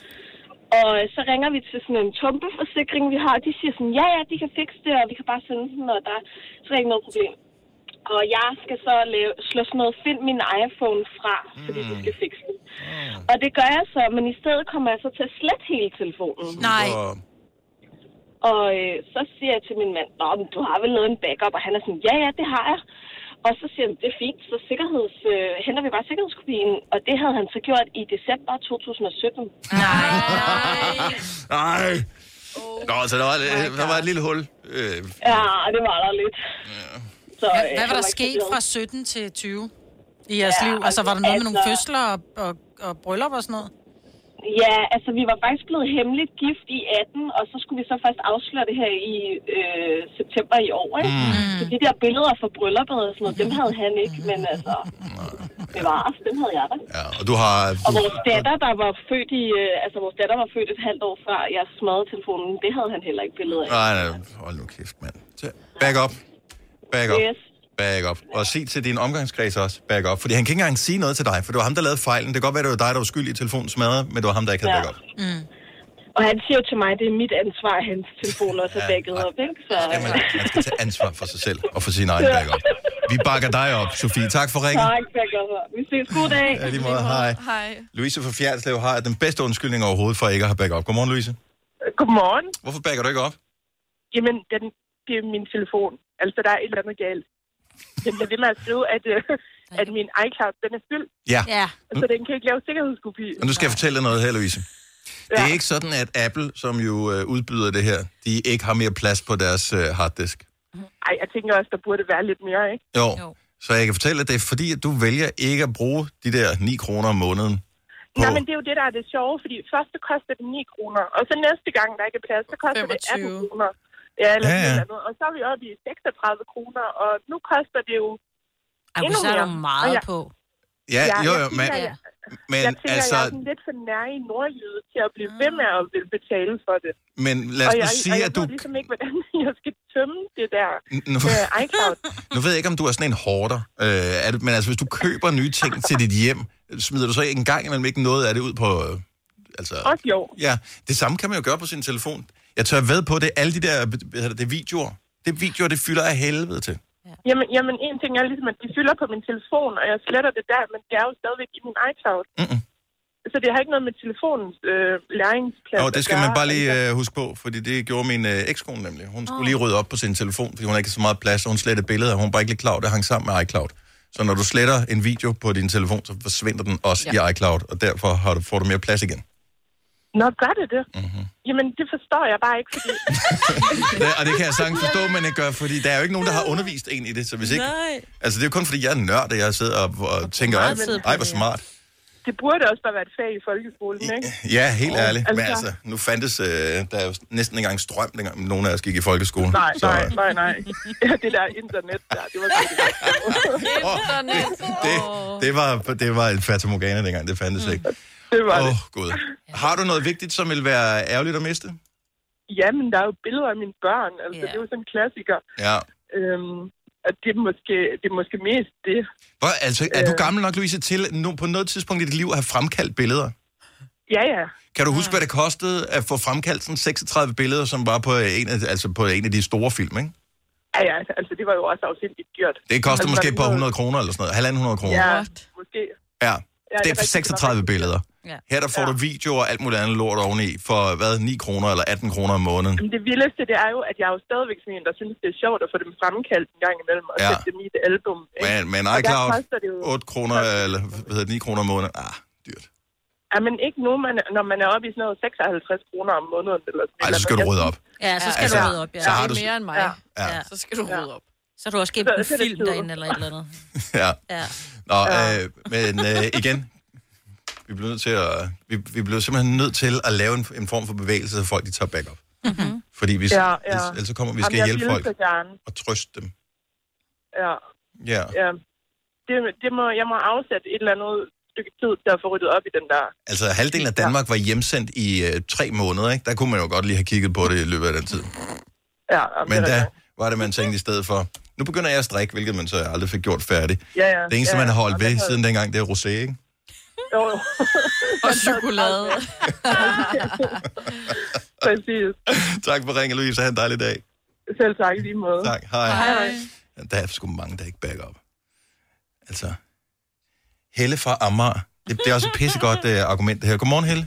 Speaker 8: Og øh, så ringer vi til sådan en tumpeforsikring, vi har. De siger sådan, ja, ja, de kan fikse det, og vi kan bare sende den, og der så er ikke noget problem. Og jeg skal så lave, slå sådan noget, find min iPhone fra,
Speaker 24: Mm.
Speaker 8: fordi de
Speaker 1: Mm.
Speaker 8: skal fikse den. Og det gør jeg så, men i stedet kommer jeg så til at slette hele telefonen.
Speaker 1: Nej.
Speaker 8: Og øh, så siger jeg til min mand, Nå, men du har vel lavet en backup? Og han er sådan, ja, ja, det har jeg. Og så siger han, det er fint, så sikkerheds, øh, henter vi bare sikkerhedskopien. Og det havde han så gjort i december 2017.
Speaker 1: Nej. Nå, så der var, øh, der var et lille hul. Øh,
Speaker 8: Ja, Ah, det var der lidt. Så,
Speaker 2: Hvad,
Speaker 8: øh,
Speaker 2: hvad var
Speaker 8: jeg
Speaker 2: der
Speaker 8: ikke så
Speaker 2: sket
Speaker 8: glad.
Speaker 2: fra 17 til 20 i jeres
Speaker 8: Ja,
Speaker 2: liv? Altså, var der noget med nogle
Speaker 8: altså-
Speaker 2: fødsler og, og, og bryllup og sådan noget?
Speaker 8: Ja, altså vi var faktisk blevet hemmeligt gift i 18, og så skulle vi så først afsløre det her i øh, september i år, ikke? Mm. Så de der billeder fra brylluppet og sådan noget, dem havde han ikke, men altså, det var dem havde jeg da.
Speaker 1: Ja, og du har...
Speaker 8: Og
Speaker 1: Du,
Speaker 8: vores datter, der var født i, øh, altså vores datter var født et halvt år før, jeg smadrede telefonen, det havde han heller ikke billeder af.
Speaker 1: nej, nej, hold nu kæft, mand. Så Back up. Back up.
Speaker 8: Yes.
Speaker 1: Back up. Og sig til din omgangskreds også, back up. Fordi han kan ikke engang sige noget til dig, for det var ham, der lavede fejlen. Det kan godt være, det var dig, der var skyld i telefonen smadret, men det var ham, der ikke havde
Speaker 8: Ja.
Speaker 1: back up.
Speaker 8: Mm. Og han siger jo til mig, det er mit ansvar, at hans telefon også er dækket op, ikke? Så,
Speaker 1: Han skal tage ansvar for sig selv og for sin egen
Speaker 8: Ja.
Speaker 1: back up. Vi bakker dig op, Sofie. Tak for ringen.
Speaker 8: tak, tak, Vi ses. God dag.
Speaker 1: Ja, lige måde. Hej.
Speaker 8: Hej.
Speaker 1: Louise fra Fjerdslev har den bedste undskyldning overhovedet for ikke at have back up. Godmorgen, Louise.
Speaker 24: Godmorgen.
Speaker 1: Hvorfor backer du ikke op?
Speaker 24: Jamen, den, det er min telefon. Altså, der er et eller andet galt. Den bliver ved med at skrive, at, øh, at min iCloud, den er skyld.
Speaker 1: Ja. Ja.
Speaker 24: Så den kan ikke lave sikkerhedskopi.
Speaker 1: Og nu skal jeg fortælle dig noget her, Louise. Det er ikke sådan, at Apple, som jo øh, udbyder det her, de ikke har mere plads på deres øh, harddisk.
Speaker 24: Ej, jeg tænker også, der burde være lidt mere, ikke?
Speaker 1: Jo. jo. Så jeg kan fortælle dig, det er fordi, at du vælger ikke at bruge de der 9 kroner om måneden.
Speaker 24: Nej, men det er jo det, der er det sjove, fordi først så koster det 9 kroner, og så næste gang, der ikke er plads, så koster 25. det 18 kroner. Ja, eller
Speaker 1: Ja,
Speaker 24: ja,
Speaker 1: ja.
Speaker 24: ja. Noget. Og så er vi oppe i 36 kroner, og nu koster det jo
Speaker 3: Ej,
Speaker 24: endnu
Speaker 3: så er
Speaker 24: mere.
Speaker 3: der meget
Speaker 24: Og
Speaker 3: på.
Speaker 1: Ja, jo,
Speaker 24: jeg
Speaker 1: jo, men,
Speaker 24: tænker, jeg,
Speaker 1: men
Speaker 24: jeg tænker,
Speaker 1: altså,
Speaker 24: jeg er sådan lidt for nær i nordjyde til at blive ved med at ville betale for det.
Speaker 1: men lad os
Speaker 24: og
Speaker 1: nu
Speaker 24: jeg, og
Speaker 1: sige,
Speaker 24: jeg
Speaker 1: at du...
Speaker 24: ved ligesom ikke, hvordan jeg skal tømme det der
Speaker 1: nu-
Speaker 24: øh, iCloud.
Speaker 1: Nu ved jeg ikke, om du er sådan en hoarder, øh, er det, men altså, hvis du køber nye ting til dit hjem, smider du så ikke engang imellem ikke noget af det ud på... Øh, altså,
Speaker 24: Også jo.
Speaker 1: Ja, det samme kan man jo gøre på sin telefon. Jeg tør ved på det, alle de der hvad hedder det, videoer. Det videoer, det fylder af helvede til.
Speaker 24: Jamen, jamen, en ting er ligesom, at de fylder på min telefon, og jeg sletter det der, men det er jo stadigvæk i min iCloud.
Speaker 1: Mm-mm.
Speaker 24: Så det har ikke noget med telefonens øh, læringsplads
Speaker 1: Jo, det skal
Speaker 24: at
Speaker 1: man
Speaker 24: gøre.
Speaker 1: bare lige øh, huske på, fordi det gjorde min øh, ekskone nemlig. Hun skulle
Speaker 24: Åh.
Speaker 1: lige rydde op på sin telefon, fordi hun havde ikke så meget plads, og hun slettede billeder, og hun var ikke lige klar, over, det hang sammen med iCloud. Så når du sletter en video på din telefon, så forsvinder den også ja. i iCloud, og derfor har du, får du mere plads igen. Mhm.
Speaker 24: Nå, gør det det? Mm-hmm. Jamen, det forstår jeg bare ikke, fordi...
Speaker 1: Ja, og det kan jeg sagtens forstå, man ikke gør, fordi der er jo ikke nogen, der har undervist en i det. Så hvis ikke,
Speaker 24: Nej.
Speaker 1: altså det er jo kun fordi, jeg er en nørd, og jeg sidder og, og tænker,
Speaker 24: meget
Speaker 1: ej,
Speaker 24: tid på
Speaker 1: ej,
Speaker 24: det,
Speaker 1: hvor
Speaker 24: ja.
Speaker 1: smart.
Speaker 24: Det burde også bare være et fag i folkeskolen, ikke?
Speaker 1: Ja, helt
Speaker 24: Åh,
Speaker 1: ærligt. Men
Speaker 24: altså-
Speaker 1: altså, nu fandtes øh, der er jo næsten ikke engang strøm, dengang nogen af os gik i folkeskolen.
Speaker 24: Nej,
Speaker 1: så,
Speaker 24: nej, nej, nej. Ja, det der internet der, det var slet ikke
Speaker 1: internet. Det, det, var, det var en Fata Morgana dengang, det fandtes ikke.
Speaker 24: Mm. Det var
Speaker 1: Åh, oh, Gud. Har du noget vigtigt, som vil være ærgerligt at miste?
Speaker 24: Jamen, der er jo billeder af mine børn, altså det er jo sådan en klassiker.
Speaker 1: Ja.
Speaker 24: Øhm, og det er, måske, det er måske mest det.
Speaker 1: Hvor, altså, er
Speaker 24: Øh.
Speaker 1: du gammel nok, Louise, til no, på noget tidspunkt i dit liv at have fremkaldt billeder?
Speaker 24: Ja, ja.
Speaker 1: Kan du huske, hvad det kostede at få fremkaldt sådan 36 billeder, som var på en af, altså på en af de store film, ikke?
Speaker 24: Ja, ja, altså det var jo også afsindigt dyrt.
Speaker 1: Det kostede
Speaker 24: altså,
Speaker 1: måske et par
Speaker 24: noget-
Speaker 1: hundrede kroner eller sådan noget. Halvanden hundrede kroner.
Speaker 24: Ja, måske.
Speaker 1: ja.
Speaker 24: det er
Speaker 1: Det er
Speaker 24: rigtigt, det var
Speaker 1: 36 billeder. Ja. Her der får ja. du videoer og alt muligt andet lort oveni for hvad, 9 kroner eller 18 kroner om måneden.
Speaker 24: Men det vildeste, det er jo, at jeg er jo stadigvæk sådan en, der synes, det er sjovt at få dem fremkaldt en gang imellem og
Speaker 1: Ja.
Speaker 24: ja. sætte dem i et album. ikke?
Speaker 1: Men, men
Speaker 24: Og der
Speaker 1: iCloud,
Speaker 24: koster det jo,
Speaker 1: 8 kroner, eller hvad hedder det, 9 kroner om måneden. Ah,
Speaker 24: ja, men ikke nu, man, når man er oppe i sådan noget 56 kroner om måneden. Eller sådan
Speaker 1: ej, så skal du rydde op.
Speaker 3: Ja, så skal altså,
Speaker 1: Altså,
Speaker 3: du rydde op, ja.
Speaker 1: så har du- Det er mere
Speaker 4: end mig. Ja.
Speaker 1: Ja.
Speaker 4: Så skal du rydde op.
Speaker 3: Så har du også gemt
Speaker 4: Så-
Speaker 3: en
Speaker 4: så er det
Speaker 3: film
Speaker 4: tid.
Speaker 3: derinde eller et eller andet.
Speaker 1: ja.
Speaker 3: Ja.
Speaker 1: Nå, øh, men øh, igen, vi bliver, nødt til at, vi, vi bliver simpelthen nødt til at lave en, en form for bevægelse, så folk de tager back up.
Speaker 24: Mhm.
Speaker 1: Fordi Mm-hmm. hvis, ja, ja. Ellers, ellers så kommer vi skal
Speaker 24: Jamen, jeg
Speaker 1: hjælpe
Speaker 24: ville
Speaker 1: folk
Speaker 24: så gerne.
Speaker 1: og trøste dem.
Speaker 24: Ja.
Speaker 1: Ja.
Speaker 24: ja. Det, det må, jeg må afsætte et eller andet stykke tid til at få ryddet op i den der.
Speaker 1: Altså halvdelen af Danmark var hjemsendt i øh, tre måneder, ikke? Der kunne man jo godt lige have kigget på det i løbet af den tid.
Speaker 24: Ja,
Speaker 1: Men der var det, man tænkte i stedet for, nu begynder jeg at strikke, hvilket man så aldrig fik gjort færdigt.
Speaker 24: Ja, ja.
Speaker 1: Det eneste,
Speaker 24: ja,
Speaker 1: man har holdt
Speaker 24: og
Speaker 1: ved
Speaker 24: derfor-
Speaker 1: siden dengang, det er rosé, ikke?
Speaker 24: Jo.
Speaker 4: og chokolade.
Speaker 24: Præcis.
Speaker 1: tak for ringen, Louise. Ha' en dejlig dag.
Speaker 24: Selv tak i lige måde.
Speaker 1: Tak. Hej.
Speaker 24: Hej.
Speaker 1: Ja, Der er sgu mange, der ikke backer op. Altså, Helle fra Amager. Det, det er også et pissegodt uh, argument, det her. Godmorgen, Helle.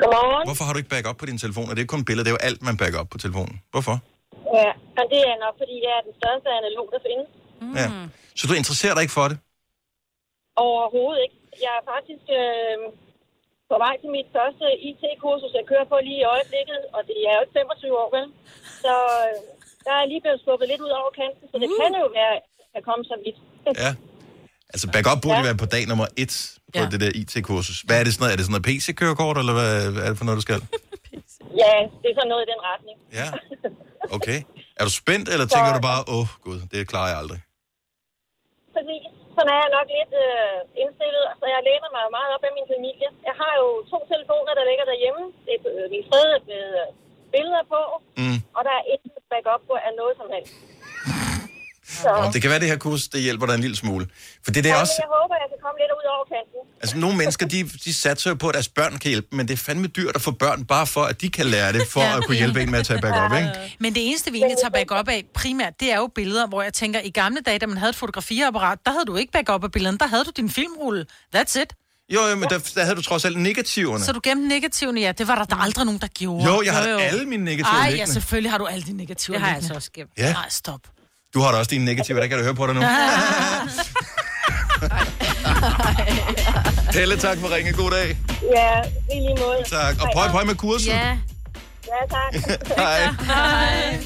Speaker 11: Godmorgen.
Speaker 1: Hvorfor har du ikke back op på din telefon? Og det er kun billeder, det er jo alt, man backer op på telefonen. Hvorfor?
Speaker 11: Ja, men det er nok, fordi jeg er den største analog, der findes.
Speaker 1: Mm. Ja. Så du interesserer dig ikke for det?
Speaker 11: Overhovedet ikke. Jeg er faktisk øh, på vej til mit første IT-kursus, jeg kører på lige i øjeblikket, og det er jo ikke 25 år, vel? Så øh, der er lige blevet skubbet lidt ud over kanten, så det kan jo være, at jeg kommer så vidt.
Speaker 1: Ja. Altså, back up burde
Speaker 11: Ja.
Speaker 1: ja. være på dag nummer et på
Speaker 11: Ja.
Speaker 1: ja. det der IT-kursus. Hvad er det sådan noget? Er det sådan noget PC-kørekort, eller hvad hvad er det for noget, du skal?
Speaker 11: Ja, det er sådan noget i den retning.
Speaker 1: Ja. Okay. Er du spændt, eller tænker du bare, åh oh, gud, det klarer jeg aldrig?
Speaker 11: Fordi sådan er jeg nok lidt øh, indstillet, så jeg læner mig jo meget op af min familie. Jeg har jo to telefoner, der ligger derhjemme. Et, øh, min tredje med øh, billeder på,
Speaker 1: Mm.
Speaker 11: og der er intet backup på af noget som helst. Så,
Speaker 1: Om det kan være, det her kurs, det hjælper dig en lille smule. For det, det er
Speaker 11: Ej, men
Speaker 1: også...
Speaker 11: Jeg håber, jeg kan komme lidt ud over kanten.
Speaker 1: Altså, nogle mennesker, de, de satser jo på, at deres børn kan hjælpe dem, men det er fandme dyrt at få børn, bare for, at de kan lære det, for at kunne hjælpe en med at tage back up, ikke?
Speaker 2: Men det eneste, vi egentlig tager backup af primært, det er jo billeder, hvor jeg tænker, i gamle dage, da man havde et fotografiapparat, der havde du ikke backup af billederne, der havde du din filmrulle. That's it.
Speaker 1: Jo, jo, men der, der havde du trods alt negativerne.
Speaker 2: Så du gemte negativerne, ja. Det var der, der aldrig nogen, der gjorde.
Speaker 1: Jo, jeg har alle mine negativer
Speaker 2: Ej, ja,
Speaker 1: liggende.
Speaker 2: selvfølgelig har du alle dine negativer
Speaker 3: Det har jeg
Speaker 2: liggende.
Speaker 3: altså også gemt.
Speaker 1: Ja.
Speaker 2: Nej, stop.
Speaker 1: Du har da også dine negativer, der kan du høre på dig nu. Helle, tak for ringe. God dag.
Speaker 11: Ja, i lige måde.
Speaker 1: Tak. Og pøj, pøj med kursen.
Speaker 11: Ja. Ja, tak.
Speaker 1: Hej.
Speaker 11: Hej.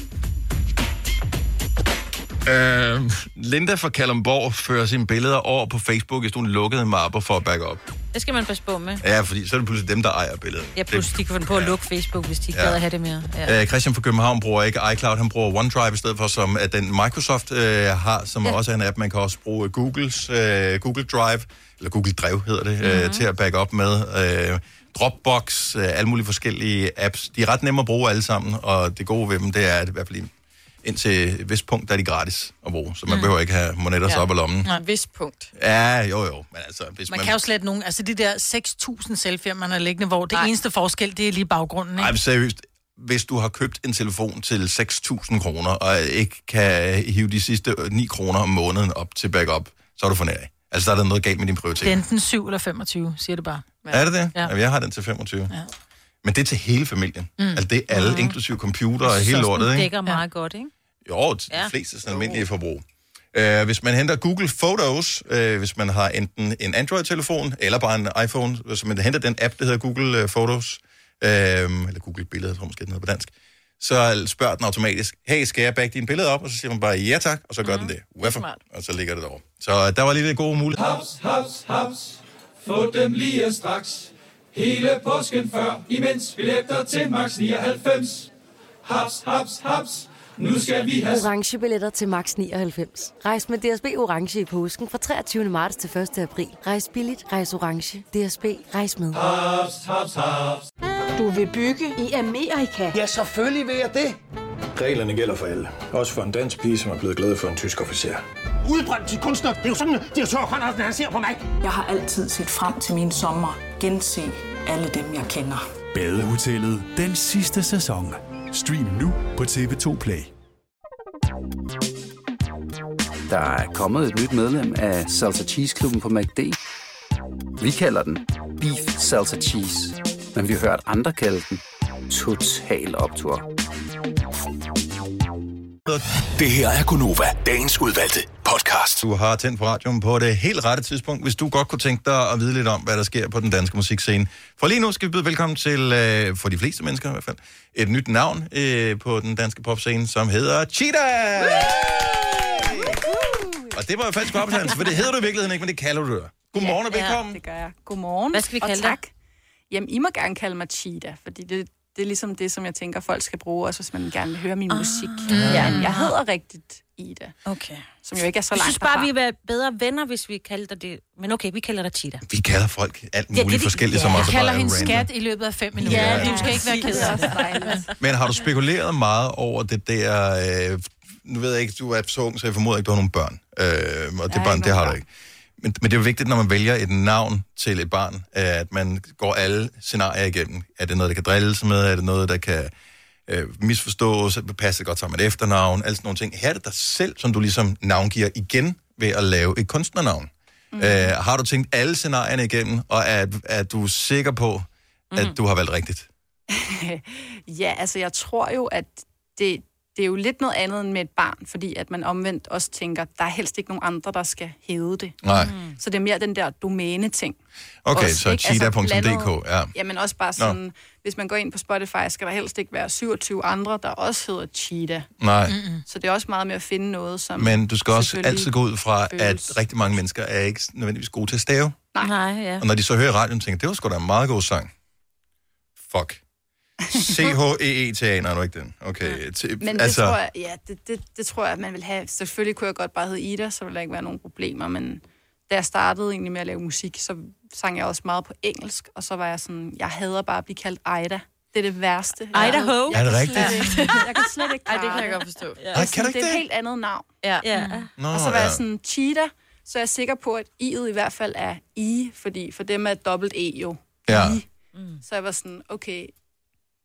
Speaker 1: Øh, Linda fra Kalumborg fører sine billeder over på Facebook, hvis du lukkede mapper for at back up.
Speaker 3: Det skal man passe på med.
Speaker 1: Ja, fordi så er det pludselig dem, der ejer billedet.
Speaker 3: Ja, plus de kan finde på at lukke Facebook, hvis de ikke
Speaker 1: Ja.
Speaker 3: gad at have det mere. Ja.
Speaker 1: Ja. Øh, Christian fra København bruger ikke iCloud, han bruger OneDrive i stedet for, som at den Microsoft øh, har, som ja. også er en app, man kan også bruge Googles, øh, Google Drive, eller Google Drive hedder det, mm-hmm. øh, til at backe op med. Øh, Dropbox, øh, alle mulige forskellige apps. De er ret nemme at bruge alle sammen, og det gode ved dem, det er, at i hvert fald indtil et vist punkt, der er de gratis at bruge, så man mm. behøver ikke have monetter ja. op i lommen.
Speaker 2: Nej, vis punkt.
Speaker 1: Ja, jo jo, men altså... Hvis
Speaker 2: Man kan jo slet nogen, altså de der 6.000 selfie'er, man har liggende, hvor det Ej. eneste forskel, det er lige baggrunden,
Speaker 1: Ej,
Speaker 2: ikke?
Speaker 1: men seriøst. Hvis du har købt en telefon til 6.000 kroner, og ikke kan hive de sidste 9 kroner om måneden op til backup, så er du for nær. Altså, der er der noget galt med din
Speaker 2: Det er
Speaker 1: prioritering.
Speaker 2: enten 7 eller 25, siger det bare.
Speaker 1: Er det det?
Speaker 2: Ja.
Speaker 1: Ja. Jamen, jeg har den til 25.
Speaker 2: Ja.
Speaker 1: Men det er til hele familien.
Speaker 2: Mm.
Speaker 1: Mm. Altså, det er alle, mm. inklusive computer og hele lortet,
Speaker 3: Det
Speaker 1: ikke?
Speaker 3: dækker meget godt, ikke?
Speaker 1: Jo, til ja.
Speaker 3: Ja.
Speaker 1: de fleste sådan almindelige forbrug. Uh, hvis man henter Google Photos, uh, hvis man har enten en Android-telefon eller bare en iPhone, hvis man henter den app, der hedder Google øh, Photos, uh, eller Google Billeder, tror jeg måske, den hedder på dansk, så spørger den automatisk, hey, skal jeg bagge dine billeder op? Og så siger man bare, ja tak, og så gør mm. den det. Hvorfor? Og så ligger det derovre. Så øh, der var lige lidt gode muligheder.
Speaker 9: Haps, haps, haps. Få dem lige straks. Hele påsken før, imens billetter til max 99. Haps, haps, haps. Nu skal vi have...
Speaker 19: Orange billetter til max 99. Rejs med DSB Orange i påsken fra 23. marts til 1. april. Rejs billigt, rejs orange. DSB, rejs med.
Speaker 9: Haps, haps, haps.
Speaker 20: Du vil bygge i Amerika? Ja, selvfølgelig vil jeg det.
Speaker 21: Reglerne gælder for alle. Også for en dansk pige, som er blevet glad for en tysk officer.
Speaker 22: Udbrøndt til kunstner. Det er jo sådan, at de har tørt, han, han ser på mig. Jeg har altid set frem til min sommer. Gense alle dem, jeg kender.
Speaker 10: Badehotellet den sidste sæson. Stream nu på TV2 Play.
Speaker 23: Der er kommet et nyt medlem af Salsa Cheese Klubben på MACD. Vi kalder den Beef Salsa Cheese, men vi har hørt andre kalde den Total Optor.
Speaker 13: Det her er Gunova, dagens udvalgte podcast.
Speaker 1: Du har tændt på radioen på det helt rette tidspunkt, hvis du godt kunne tænke dig at vide lidt om, hvad der sker på den danske musikscene. For lige nu skal vi byde velkommen til, øh, for de fleste mennesker i hvert fald, et nyt navn øh, på den danske popscene, som hedder Cheetah! Og det var jo falsk optagelse, for det hedder du i virkeligheden ikke, men det kalder du dig. Godmorgen og velkommen.
Speaker 14: Ja, det gør jeg. Godmorgen.
Speaker 3: Hvad skal vi
Speaker 14: og
Speaker 3: kalde dig?
Speaker 14: tak. Jamen, I må gerne kalde mig Cheetah, fordi det, det er ligesom det, som jeg tænker, folk skal bruge, også hvis man gerne vil høre min ah, musik. Ja, men jeg hedder rigtigt Ida.
Speaker 3: Okay.
Speaker 14: Som jo ikke er så
Speaker 3: Jeg
Speaker 14: langt
Speaker 3: synes bare,
Speaker 14: derfra.
Speaker 3: vi er bedre venner, hvis vi kalder dig det. Men okay, vi kalder dig Tita.
Speaker 1: Vi kalder folk alt
Speaker 3: Ja,
Speaker 1: muligt
Speaker 3: det er
Speaker 1: ja,
Speaker 3: de-
Speaker 1: forskelligt, som
Speaker 3: ja.
Speaker 1: også
Speaker 3: Jeg kalder
Speaker 1: bare er
Speaker 3: hende
Speaker 1: random.
Speaker 2: Skat i løbet af fem minutter.
Speaker 1: Ja,
Speaker 2: Ja, du skal ikke være ked af det.
Speaker 1: Men har du spekuleret meget over det der... Øh, nu ved jeg ikke, du er så ung, så jeg formoder ikke, du har nogle børn. Øh, og det børn, det har du ikke. Men, men det er jo vigtigt, når man vælger et navn til et barn, at man går alle scenarier igennem. Er det noget, der kan drilles med? Er det noget, der kan øh, misforstås? Passer det godt sammen med et efternavn? Alt sådan nogle ting. Her er det dig selv, som du ligesom navngiver igen ved at lave et kunstnernavn. Mm. Øh, har du tænkt alle scenarierne igennem, og er, er du sikker på, at du har valgt rigtigt?
Speaker 14: ja, altså jeg tror jo, at det, det er jo lidt noget andet end med et barn, fordi at man omvendt også tænker, der er helst ikke nogen andre, der skal hæve det.
Speaker 1: Nej.
Speaker 14: Mm. Så det er mere den der domæne-ting.
Speaker 1: Okay,
Speaker 14: Også,
Speaker 1: så
Speaker 14: ikke? Altså,
Speaker 1: cheetah.dk,
Speaker 14: blandet-
Speaker 1: ja.
Speaker 14: Jamen også bare
Speaker 1: Nå.
Speaker 14: sådan, Nå. hvis man går ind på Spotify, skal der helst ikke være 27 andre, der også hedder cheetah.
Speaker 1: Nej. Mm-mm.
Speaker 14: Så det er også meget med at finde noget, som...
Speaker 1: Men du skal også
Speaker 14: selvfølgelig
Speaker 1: altid gå ud fra,
Speaker 14: føles.
Speaker 1: at rigtig mange mennesker er ikke nødvendigvis gode til at stave.
Speaker 14: Nej, Nej ja.
Speaker 1: Og når de så hører i radioen, tænker, det var sgu da en meget god sang. Fuck. E C-H-E-E-T-A, nej, nu ikke den. Okay, t-
Speaker 14: Men det altså... tror jeg, ja, det, det, det tror jeg, at man vil have. Selvfølgelig kunne jeg godt bare hedde Ida, så ville der ikke være nogen problemer, men da jeg startede egentlig med at lave musik, så sang jeg også meget på engelsk, og så var jeg sådan, jeg hader bare at blive kaldt Ida. Det er det værste.
Speaker 3: Idaho?
Speaker 1: Er det
Speaker 14: Jeg kan
Speaker 1: rigtigt?
Speaker 14: slet ikke- Jeg kan slet ikke
Speaker 4: Ej, det
Speaker 14: klare
Speaker 4: kan jeg godt forstå.
Speaker 14: Ja.
Speaker 1: Ej,
Speaker 14: Altså,
Speaker 1: kan du ikke
Speaker 14: det er
Speaker 1: det?
Speaker 14: et helt andet navn. Ja. ja.
Speaker 1: Nå,
Speaker 14: og så var ja.
Speaker 1: ja.
Speaker 14: jeg sådan, cheetah, så er jeg sikker på, at i'et i hvert fald er i, fordi for dem er et dobbelt e jo.
Speaker 1: Ja.
Speaker 14: Så jeg var sådan, okay,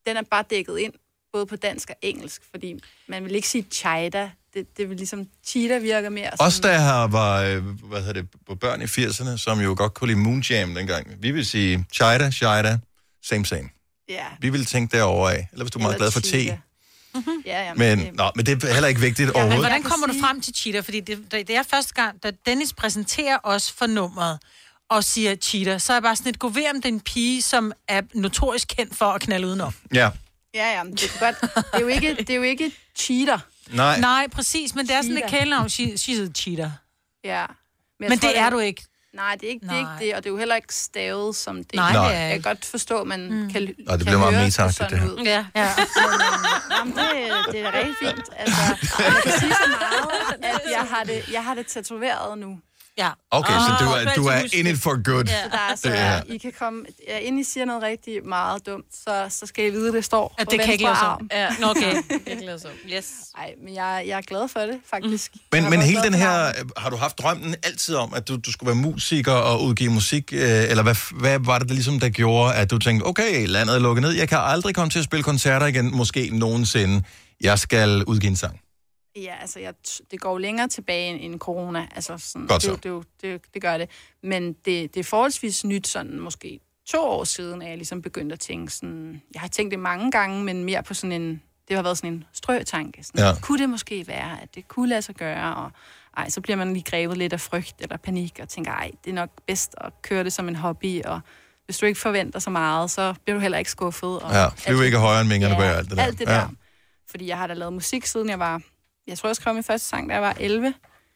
Speaker 14: den er bare dækket ind, både på dansk og engelsk, fordi man vil ikke sige cheetah. Det, det vil ligesom, cheetah virker mere
Speaker 1: Os, der har var, øh, hvad hedder det, på børn i 80'erne, som jo godt kunne lide Moonjam dengang, vi vil sige Chida, Chida, same, same.
Speaker 14: Ja.
Speaker 1: Vi vil tænke derovre af. Eller hvis du er meget glad for te.
Speaker 14: Ja, ja,
Speaker 1: Men, nå, men det er heller ikke vigtigt
Speaker 2: Ja, Mm-hmm. men
Speaker 1: overhovedet.
Speaker 2: hvordan kommer du frem til cheater? Fordi det, det det er første gang, da Dennis præsenterer os for nummeret og siger cheater, så er jeg bare sådan lidt, gå ved om den pige, som er notorisk kendt for at knalde udenom.
Speaker 1: Ja.
Speaker 14: Ja, ja, men det er godt. Det er jo ikke, det er jo ikke cheater.
Speaker 1: Nej.
Speaker 2: Nej, præcis, men det er sådan et
Speaker 14: Cheater.
Speaker 2: kælenavn, she, she's a cheater.
Speaker 14: Ja.
Speaker 2: Men, men
Speaker 14: jeg tror,
Speaker 2: det er du ikke.
Speaker 14: Nej, det er ikke, det er
Speaker 2: Nej.
Speaker 14: ikke det, og det er jo heller ikke stavet som det.
Speaker 2: Nej, det er
Speaker 14: Jeg kan
Speaker 2: ikke.
Speaker 14: godt forstå, at man mm. kan,
Speaker 1: Nå, det
Speaker 14: kan
Speaker 1: bliver meget
Speaker 14: høre
Speaker 1: meta-agtigt,
Speaker 14: sådan
Speaker 1: det her.
Speaker 14: ud. Ja. ja. Jamen, det, det er da rigtig fint. Altså, jeg kan sige så meget, at jeg har det, jeg har det tatoveret nu.
Speaker 2: Ja.
Speaker 1: Okay, så du er, du er in it for good.
Speaker 14: Ja. Så der er, så
Speaker 1: Det her.
Speaker 14: I kan komme, ja, inden I siger noget rigtig meget dumt, så, så skal I vide, det står
Speaker 2: At
Speaker 14: på
Speaker 2: det kan ikke
Speaker 14: venstre
Speaker 2: laves
Speaker 14: arm.
Speaker 2: om. Ja. Nå, okay. Det
Speaker 14: kan ikke laves om. Yes. Nej, men jeg, jeg er glad for det, faktisk. Jeg
Speaker 1: Men,
Speaker 14: er
Speaker 1: men
Speaker 14: meget
Speaker 1: hele
Speaker 14: glad
Speaker 1: den
Speaker 14: for
Speaker 1: her, øh, har du haft drømmen altid om, at du, du skulle være musiker og udgive musik, øh, eller hvad, f- hvad var det der ligesom, der gjorde, at du tænkte, okay, landet er lukket ned, jeg kan aldrig komme til at spille koncerter igen, måske nogensinde, jeg skal udgive en sang.
Speaker 14: Ja, altså, jeg, t- det går jo længere tilbage end, end corona. Altså, sådan,
Speaker 1: Godt
Speaker 14: det, er
Speaker 1: så.
Speaker 14: jo- det, er jo- det, er jo- det gør det. Men det, det er forholdsvis nyt, sådan måske to år siden, at jeg ligesom begyndte at tænke sådan... Jeg har tænkt det mange gange, men mere på sådan en... Det har været sådan en strøtanke. Sådan,
Speaker 25: Ja.
Speaker 14: ja. Kunne det måske være, at det kunne lade sig gøre? Og ej, så bliver man lige grebet lidt af frygt eller panik, og tænker, ej, det er nok bedst at køre det som en hobby, og hvis du ikke forventer så meget, så bliver du heller ikke skuffet. Og
Speaker 1: Ja, flyv
Speaker 14: alt-
Speaker 1: ikke højere end vingerne bærer, alt det der.
Speaker 14: Alt det
Speaker 1: Ja.
Speaker 14: der. Ja. Fordi jeg har da lavet musik, siden jeg var... Jeg tror, jeg skrev min første sang, da jeg var 11.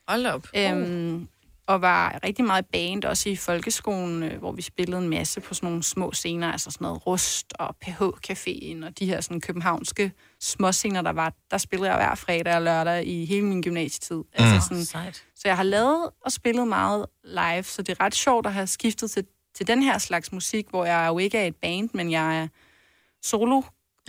Speaker 4: Hold op. Uh.
Speaker 14: Øhm, og var rigtig meget i band, også i folkeskolen, øh, hvor vi spillede en masse på sådan nogle små scener, altså sådan noget Rust og PH-caféen og de her sådan københavnske småscener, der var. Der spillede jeg hver fredag og lørdag i hele min gymnasietid.
Speaker 2: Mm.
Speaker 14: Altså sådan,
Speaker 2: Sejt.
Speaker 14: så jeg har lavet og spillet meget live, så det er ret sjovt at have skiftet til, til den her slags musik, hvor jeg jo ikke er et band, men jeg er solo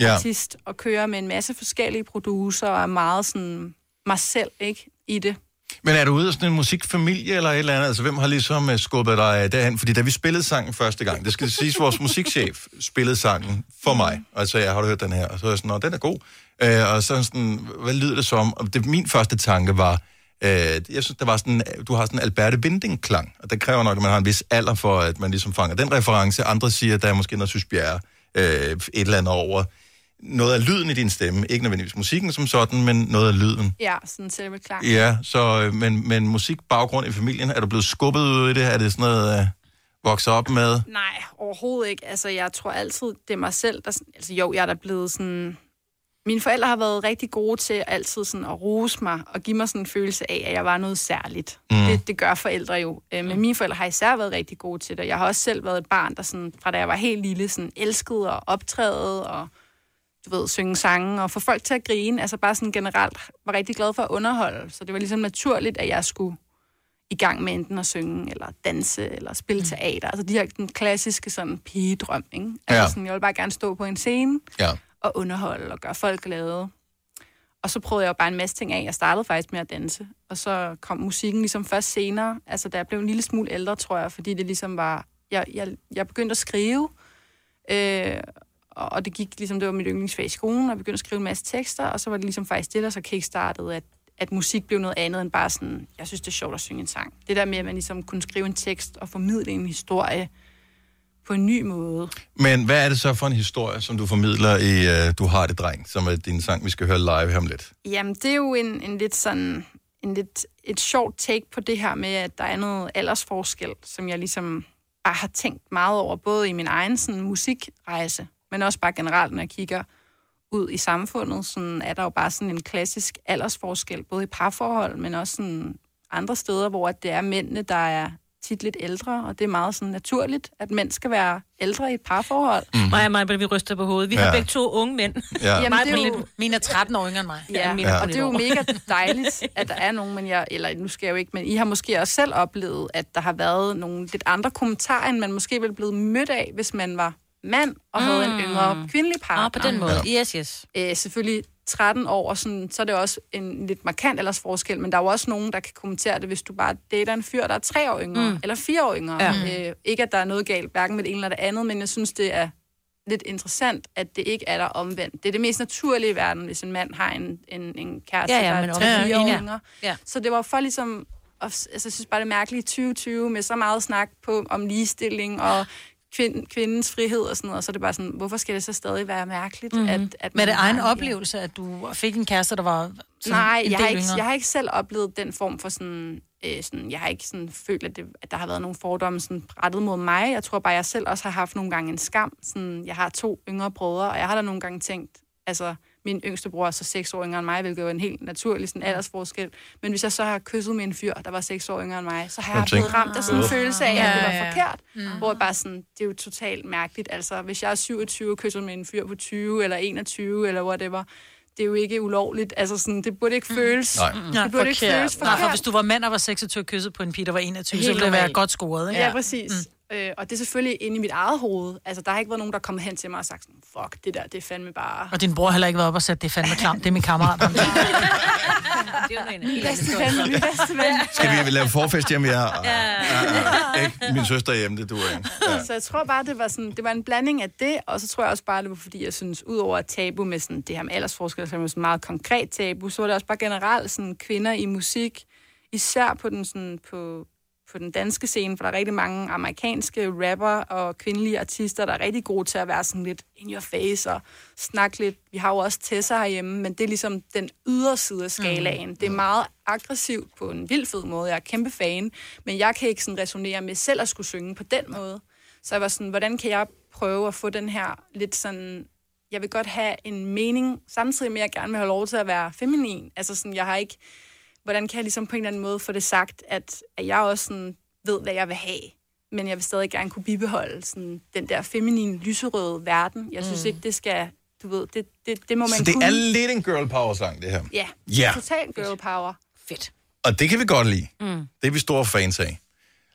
Speaker 14: artist og kører med en masse forskellige producer og er meget sådan mig selv, ikke, i det.
Speaker 1: Men er du ude af sådan en musikfamilie eller et eller andet? Altså, hvem har ligesom øh, skubbet dig øh, derhen? Fordi da vi spillede sangen første gang, det skal siges, vores musikchef spillede sangen for mig. Og så jeg, har du hørt den her? Og så er jeg sådan, "Nå, den er god. Øh, og så er han sådan, hvad lyder det som? Og det, min første tanke var, Øh, jeg synes, der var sådan, øh, du har sådan en Alberte Binding-klang, og det kræver nok, at man har en vis alder for, at man ligesom fanger den reference. Andre siger, at der er måske noget Sys Bjerre, øh, et eller andet over noget af lyden i din stemme. Ikke nødvendigvis musikken som sådan, men noget af lyden.
Speaker 14: Ja, sådan selve klar.
Speaker 1: Ja, så, øh, men, men musikbaggrund i familien, er du blevet skubbet ud i det? Er det sådan noget, øh, vokser op med?
Speaker 14: Nej, overhovedet ikke. Altså, jeg tror altid, det er mig selv, der... sådan- Altså, jo, jeg er da blevet sådan... Mine forældre har været rigtig gode til altid sådan at rose mig og give mig sådan en følelse af, at jeg var noget særligt.
Speaker 12: Mm.
Speaker 14: Mm. Det, det gør forældre jo. Øh, Men mine forældre har især været rigtig gode til det. Jeg har også selv været et barn, der sådan, fra da jeg var helt lille, sådan elskede og optræde og du ved, synge sange og få folk til at grine. Altså bare sådan generelt var rigtig glad for at underholde. Så det var ligesom naturligt, at jeg skulle i gang med enten at synge, eller danse, eller spille teater. Altså de her den klassiske sådan pigedrøm, ikke? Altså
Speaker 1: Ja.
Speaker 14: sådan, jeg vil bare gerne stå på en scene
Speaker 1: Ja.
Speaker 14: og underholde og gøre folk glade. Og så prøvede jeg jo bare en masse ting af. Jeg startede faktisk med at danse, og så kom musikken ligesom først senere. Altså da jeg blev en lille smule ældre, tror jeg, fordi det ligesom var... Jeg, jeg, jeg begyndte at skrive, øh, og, og det gik ligesom, det var mit yndlingsfag i skolen, og jeg begyndte at skrive en masse tekster, og så var det ligesom faktisk det, der så kickstartede, at, at musik blev noget andet end bare sådan, jeg synes, det er sjovt at synge en sang. Det der med, at man ligesom kunne skrive en tekst og formidle en historie på en ny måde.
Speaker 1: Men hvad er det så for en historie, som du formidler i øh, Du har det, dreng, som er din sang, vi skal høre live her om lidt?
Speaker 14: Jamen, det er jo en, en lidt sådan, en lidt, et sjovt take på det her med, at der er noget aldersforskel, som jeg ligesom bare har tænkt meget over, både i min egen sådan, musikrejse, men også bare generelt, når jeg kigger ud i samfundet, sådan er der jo bare sådan en klassisk aldersforskel, både i parforhold, men også sådan andre steder, hvor at det er mændene, der er tit lidt ældre, og det er meget sådan naturligt, at mænd skal være ældre i et parforhold.
Speaker 3: Mm.
Speaker 12: Mhm. Maja,
Speaker 14: mig, vi ryster på hovedet.
Speaker 12: Vi har Ja. begge to unge mænd.
Speaker 14: Ja.
Speaker 12: Mig
Speaker 14: Jamen,
Speaker 12: er
Speaker 14: det
Speaker 12: på
Speaker 14: er jo...
Speaker 12: lidt-
Speaker 14: Mine er 13 år yngre end mig. Ja,
Speaker 12: Mine er
Speaker 14: ja.
Speaker 12: på
Speaker 14: og det er jo
Speaker 12: lidt
Speaker 14: mega dejligt, at der er nogen, men jeg, eller nu skal jeg jo ikke, men I har måske også selv oplevet, at der har været nogle lidt andre kommentarer, end man måske ville blive mødt af, hvis man var mand og mm. havde en
Speaker 3: Mm.
Speaker 14: yngre kvindelig partner.
Speaker 3: Ah, på den måde. Ja.
Speaker 14: Yes, yes. Øh, selvfølgelig 13 år, og sådan, så er det også en lidt markant aldersforskel, men der er jo også nogen, der kan kommentere det, hvis du bare dater en fyr, der er tre år yngre,
Speaker 12: Mm.
Speaker 14: mm. eller fire år yngre.
Speaker 12: Ja.
Speaker 14: Ja. Øh, ikke, at der er noget galt, hverken med det ene eller det andet, men jeg synes, det er lidt interessant, at det ikke er der omvendt. Det er det mest naturlige i verden, hvis en mand har en, en, en kæreste,
Speaker 12: Ja, ja,
Speaker 14: der
Speaker 12: men
Speaker 14: er
Speaker 12: omvendt.
Speaker 14: 3-4
Speaker 12: Ja.
Speaker 14: år yngre.
Speaker 12: Ja.
Speaker 14: Så det var for ligesom, og, altså, jeg synes bare, det er mærkeligt i 2020 med så meget snak på, om ligestilling og kvind, kvindens frihed og sådan noget, og så er det bare sådan, hvorfor skal det så stadig være mærkeligt?
Speaker 12: Mhm.
Speaker 14: Mm-hmm. At, at
Speaker 2: Med det
Speaker 14: man har
Speaker 2: egen
Speaker 14: en-
Speaker 2: oplevelse, at du fik en kæreste, der var sådan
Speaker 14: Nej,
Speaker 2: en
Speaker 14: jeg
Speaker 2: del
Speaker 14: har, ikke,
Speaker 2: yngre.
Speaker 14: jeg har ikke selv oplevet den form for sådan... Øh, sådan jeg har ikke sådan følt, at, det, at der har været nogle fordomme sådan rettet mod mig. Jeg tror bare, jeg selv også har haft nogle gange en skam. Sådan, jeg har to yngre brødre, og jeg har da nogle gange tænkt... Altså, min yngste bror er så seks år yngre end mig, hvilket jo er en helt naturlig sådan, aldersforskel. Men hvis jeg så har kysset med en fyr, der var seks år yngre end mig, så har
Speaker 12: Jeg
Speaker 14: jeg blevet
Speaker 12: tænker-
Speaker 14: ramt af sådan en
Speaker 12: Ah.
Speaker 14: følelse af,
Speaker 12: Ja,
Speaker 14: at det
Speaker 12: ja,
Speaker 14: var
Speaker 12: ja.
Speaker 14: forkert. Mm. Hvor jeg bare sådan, det er jo totalt mærkeligt. Altså, hvis jeg er 27 og kysser med en fyr på 20 eller 21 eller whatever, det er jo ikke ulovligt. Altså sådan, det burde ikke føles.
Speaker 2: Nej.
Speaker 14: Det
Speaker 2: Nej,
Speaker 14: burde ikke føles forkert.
Speaker 2: Nej, for hvis du var mand og var 26 kysset på en pige, der var 21, så
Speaker 14: Helt
Speaker 2: ville det være
Speaker 14: normalt.
Speaker 2: godt scoret, ikke?
Speaker 14: Ja, præcis. Mm. Øh, og det er selvfølgelig inde i mit eget hoved. Altså, der har ikke været nogen, der er kommet hen til mig og sagt sådan, fuck, det der, det er fandme bare...
Speaker 2: Og din bror har heller ikke været op og sat, det er fandme klamt, det er min kammerat. ham der."
Speaker 14: Bedste ven, min bedste ven.
Speaker 1: Skal vi lave forfest hjemme? Jeg
Speaker 14: Ja.
Speaker 1: ikke min søster er hjemme, det duer ikke. Ja.
Speaker 14: Så jeg tror bare, det var, sådan, det var en blanding af det, og så tror jeg også bare, det var fordi, jeg synes, udover at tabu med sådan, det her med aldersforskel, som er sådan meget konkret tabu, så var det også bare generelt sådan, kvinder i musik, især på den, sådan, på, på den danske scene, for der er rigtig mange amerikanske rapper og kvindelige artister, der er rigtig gode til at være sådan lidt in your face og snakke lidt. Vi har jo også Tessa herhjemme, men det er ligesom den ydre side af skalaen. Det er meget aggressivt på en vild fed måde. Jeg er kæmpe fan, men jeg kan ikke sådan resonere med selv at skulle synge på den måde. Så jeg var sådan, hvordan kan jeg prøve at få den her lidt sådan... Jeg vil godt have en mening, samtidig med, at jeg gerne vil have lov til at være feminin. Altså sådan, jeg har ikke... Hvordan kan jeg ligesom på en eller anden måde få det sagt, at, at jeg også sådan ved, hvad jeg vil have, men jeg vil stadig gerne kunne bibeholde sådan, den der feminine, lyserøde verden. Jeg synes
Speaker 1: Mm.
Speaker 14: mm. ikke, det skal... Du ved, det, det, det må man
Speaker 1: Så det
Speaker 14: kunne.
Speaker 1: er lidt en girl power sang, det her.
Speaker 14: Ja,
Speaker 1: Ja.
Speaker 14: total girl power. Fedt.
Speaker 1: Og det kan vi godt lide.
Speaker 14: Mm.
Speaker 1: Det er vi store fans af.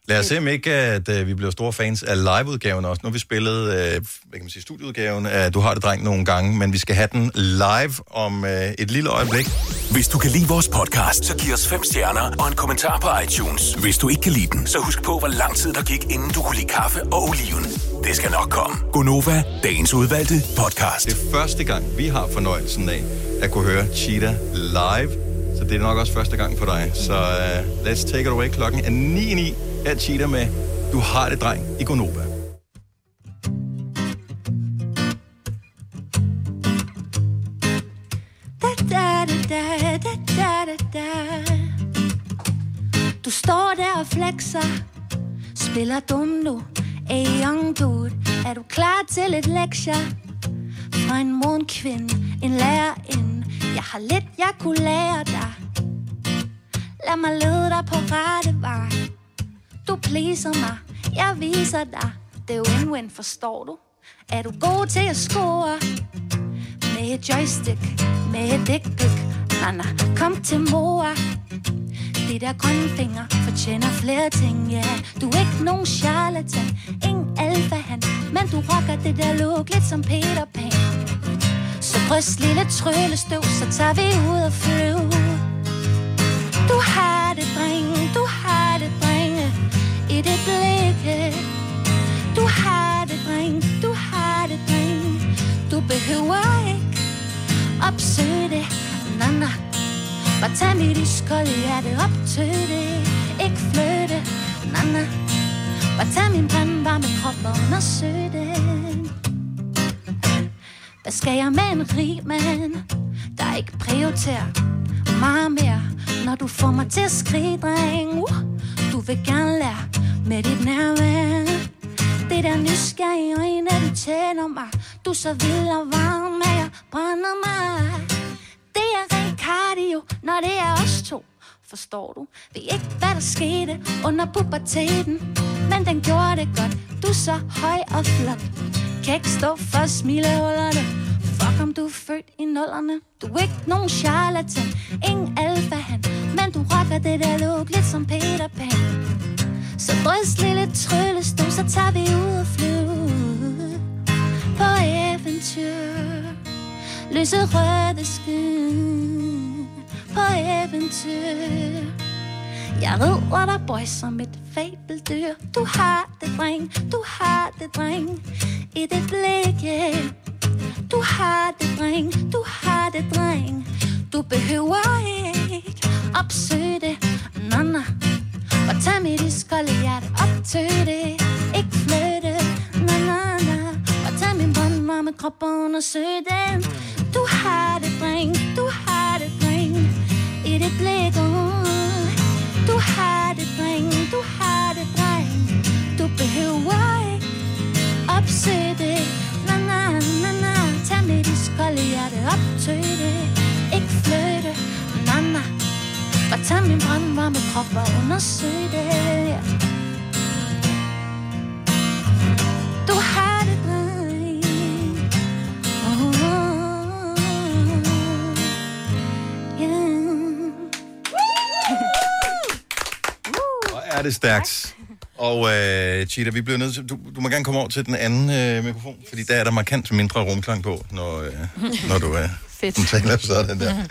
Speaker 1: Lad os se, om ikke at, øh, vi bliver store fans af liveudgaven også. Nu har vi spillet øh, hvad kan man sige, studieudgaven af Du har det, dreng, nogle gange, men vi skal have den live om øh, et lille øjeblik.
Speaker 13: Hvis du kan lide vores podcast, så giv os fem stjerner og en kommentar på iTunes. Hvis du ikke kan lide den, så husk på, hvor lang tid der gik, inden du kunne lide kaffe og oliven. Det skal nok komme.
Speaker 1: Gonova, dagens udvalgte podcast. Det er første gang, vi har fornøjelsen af at kunne høre Cheetah live. Så Så det er nok også første gang for dig. Så uh, let's take it away. Klokken er 9.09. Her cheater med Du har det, dreng i Gonova.
Speaker 12: da, da, da, da, da, da, da. Du står der og flexer Spiller dum nu Ey young dude Er du klar til et lektier? Fra en morgenkvinde En lærerinde Jeg har lidt jeg kunne lære dig Lad mig lede dig på rette vej Du pleaser mig Jeg viser dig Det er jo win-win, forstår du? Er du god til at score? Med et joystick med et dækbæk Anna, kom til mor Det der grønne finger fortjener flere ting, ja yeah. Du er ikke nogen charlatan, ingen alfa han Men du rocker det der look lidt som Peter Pan Så bryst lille tryllestøv, så tager vi ud og flyve Du har det, dreng, du har det, drenge I det blikke Du har det, dreng, du har det, dreng Du behøver ikke opsøge det Na, na Bare tag mit iskolde hjerte op til det Ikke flytte Na, na Bare tag min brandvarme krop og undersøg det Hvad skal jeg med en rig mand, der ikke prioriterer meget mere Når du får mig til at skrige, dreng uh, Du vil gerne lære med dit nærvær Det der nysgerrige øjne, du tænder mig Du er så vild og varm, at jeg brænder mig Det er ren cardio, når det er os to Forstår du? Ved ikke, hvad der skete under puberteten Men den gjorde det godt Du er så høj og flot Kan ikke stå for smilehullerne Fuck om du er født i nullerne Du er ikke nogen charlatan Ingen alfa han Men du rocker det der look lidt som Peter Pan Så drys lille tryllestol Så tager vi ud og flyve På eventyr Lyse røde skyen På eventyr Jeg rider dig, boy, som et fabeldyr Du har det, dreng, du har det, dreng I det blikke Du har det, dreng, du har det, dreng Du behøver ikke opsøge det Nå, nå Og tag mit iskolde hjerte op til det Ikke flytte, na na na Og tag min brandvarme krop og undersøg den Du har det, dreng, du har det, dreng I det blik, uh. Du har det, dreng, du har det, dreng Du behøver ikke opsøge det Na na na na Tag mit iskolde hjerte op til det Ikke flytte, na na og tag min brandvarme krop og undersøg det Du har det, dreng oh,
Speaker 1: Hvor er det stærkt. Og øh, Chita, vi bliver nødt til, du, du må gerne komme over til den anden øh, mikrofon, yes. fordi der er der markant mindre rumklang på, når, øh, når du øh,
Speaker 14: Fedt.
Speaker 1: taler sådan der.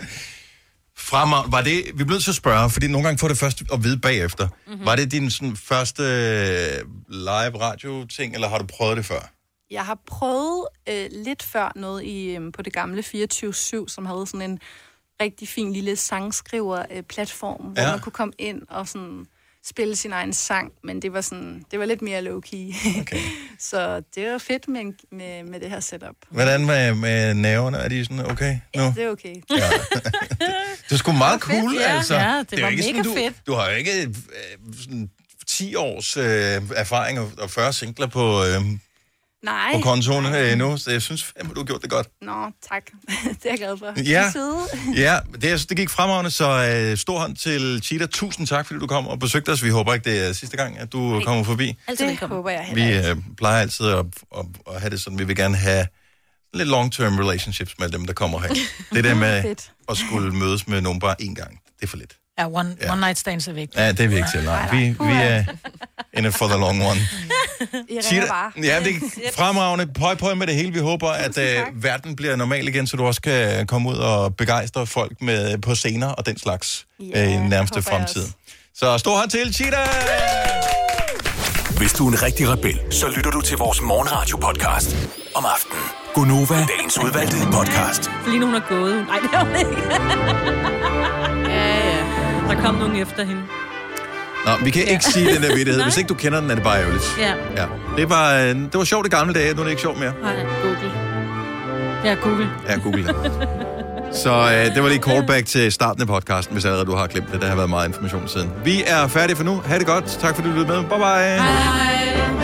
Speaker 1: Fremad, var det, vi blev til at spørge, fordi nogle gange får det først at vide bagefter.
Speaker 14: Mhm.
Speaker 1: Mm-hmm. Var det din sådan, første øh, live radio-ting, eller har du prøvet det før?
Speaker 14: Jeg har prøvet øh, lidt før noget i, øh, på det gamle 24-7, som havde sådan en rigtig fin lille sangskriver-platform, øh, ja.
Speaker 1: Ja.
Speaker 14: hvor man kunne komme ind og sådan spille sin egen sang, men det var sådan, det var lidt mere low-key. Okay. så det var fedt med, en- med, med det her setup.
Speaker 1: Hvordan med, med næverne? Er de sådan, okay nu?
Speaker 14: Ja, det er okay.
Speaker 1: Det er sgu meget
Speaker 14: Det var fedt,
Speaker 1: cool,
Speaker 14: ja.
Speaker 1: altså.
Speaker 14: Ja, det
Speaker 1: er
Speaker 14: var
Speaker 1: ikke
Speaker 14: mega
Speaker 1: sådan, du,
Speaker 14: fedt.
Speaker 1: Du har jo ikke øh, sådan 10 års øh, erfaring og, og 40 singler på, øh,
Speaker 14: Nej.
Speaker 1: på kontoen øh, endnu, så jeg synes fandme, du har gjort det godt.
Speaker 14: Nå, tak. det er jeg glad for.
Speaker 1: Ja.
Speaker 14: I side.
Speaker 1: Ja, det, er- det gik fremragende, så øh, stor hånd til Cheetah. Tusind tak, fordi du kom og besøgte os. Vi håber ikke, det er sidste gang, at du
Speaker 14: Nej.
Speaker 1: kommer forbi.
Speaker 14: Altså, det håber jeg heller
Speaker 1: Vi
Speaker 14: ikke.
Speaker 1: øh, plejer altid at, at, at have det sådan, vi vil gerne have lidt long-term relationships med dem, der kommer her. Det der med
Speaker 2: Fedt.
Speaker 1: at skulle mødes med nogen bare én gang, det er for lidt.
Speaker 2: Ja, one,
Speaker 1: Ja.
Speaker 2: one night stands er vigtigt.
Speaker 1: Ja, det er vi ikke til, nej. Vi, vi er in it for the long one.
Speaker 14: I
Speaker 1: Sig- Ja, det er fremragende. Pøj, pøj med det hele. Vi håber, at uh, verden bliver normal igen, så du også kan komme ud og begejstre folk med på scener og den slags yeah, i den nærmeste fremtid. Så stor hånd til, Cheetah!
Speaker 13: Hvis du er en rigtig rebel, så lytter du til vores morgenradio-podcast om aftenen. Gunova, dagens udvalgte podcast.
Speaker 3: Lige nu hun er gået. Nej, det er hun ikke.
Speaker 17: der kom nogen efter hende.
Speaker 1: Nå, vi kan ikke
Speaker 17: Ja.
Speaker 1: sige den der vittighed.
Speaker 17: Nej.
Speaker 1: Hvis ikke du kender den, er det bare ærgerligt.
Speaker 2: Ja.
Speaker 1: Ja. Det var, øh, det var sjovt i gamle dage. Nu er det ikke sjovt mere.
Speaker 2: Nej, Google. Ja, Google.
Speaker 1: Ja, google det. Så øh, det var lige callback til starten af podcasten, hvis allerede du har glemt det. Der har været meget information siden. Vi er færdige for nu. Ha' det godt. Tak fordi du lyttede med. Bye bye.
Speaker 2: Hej.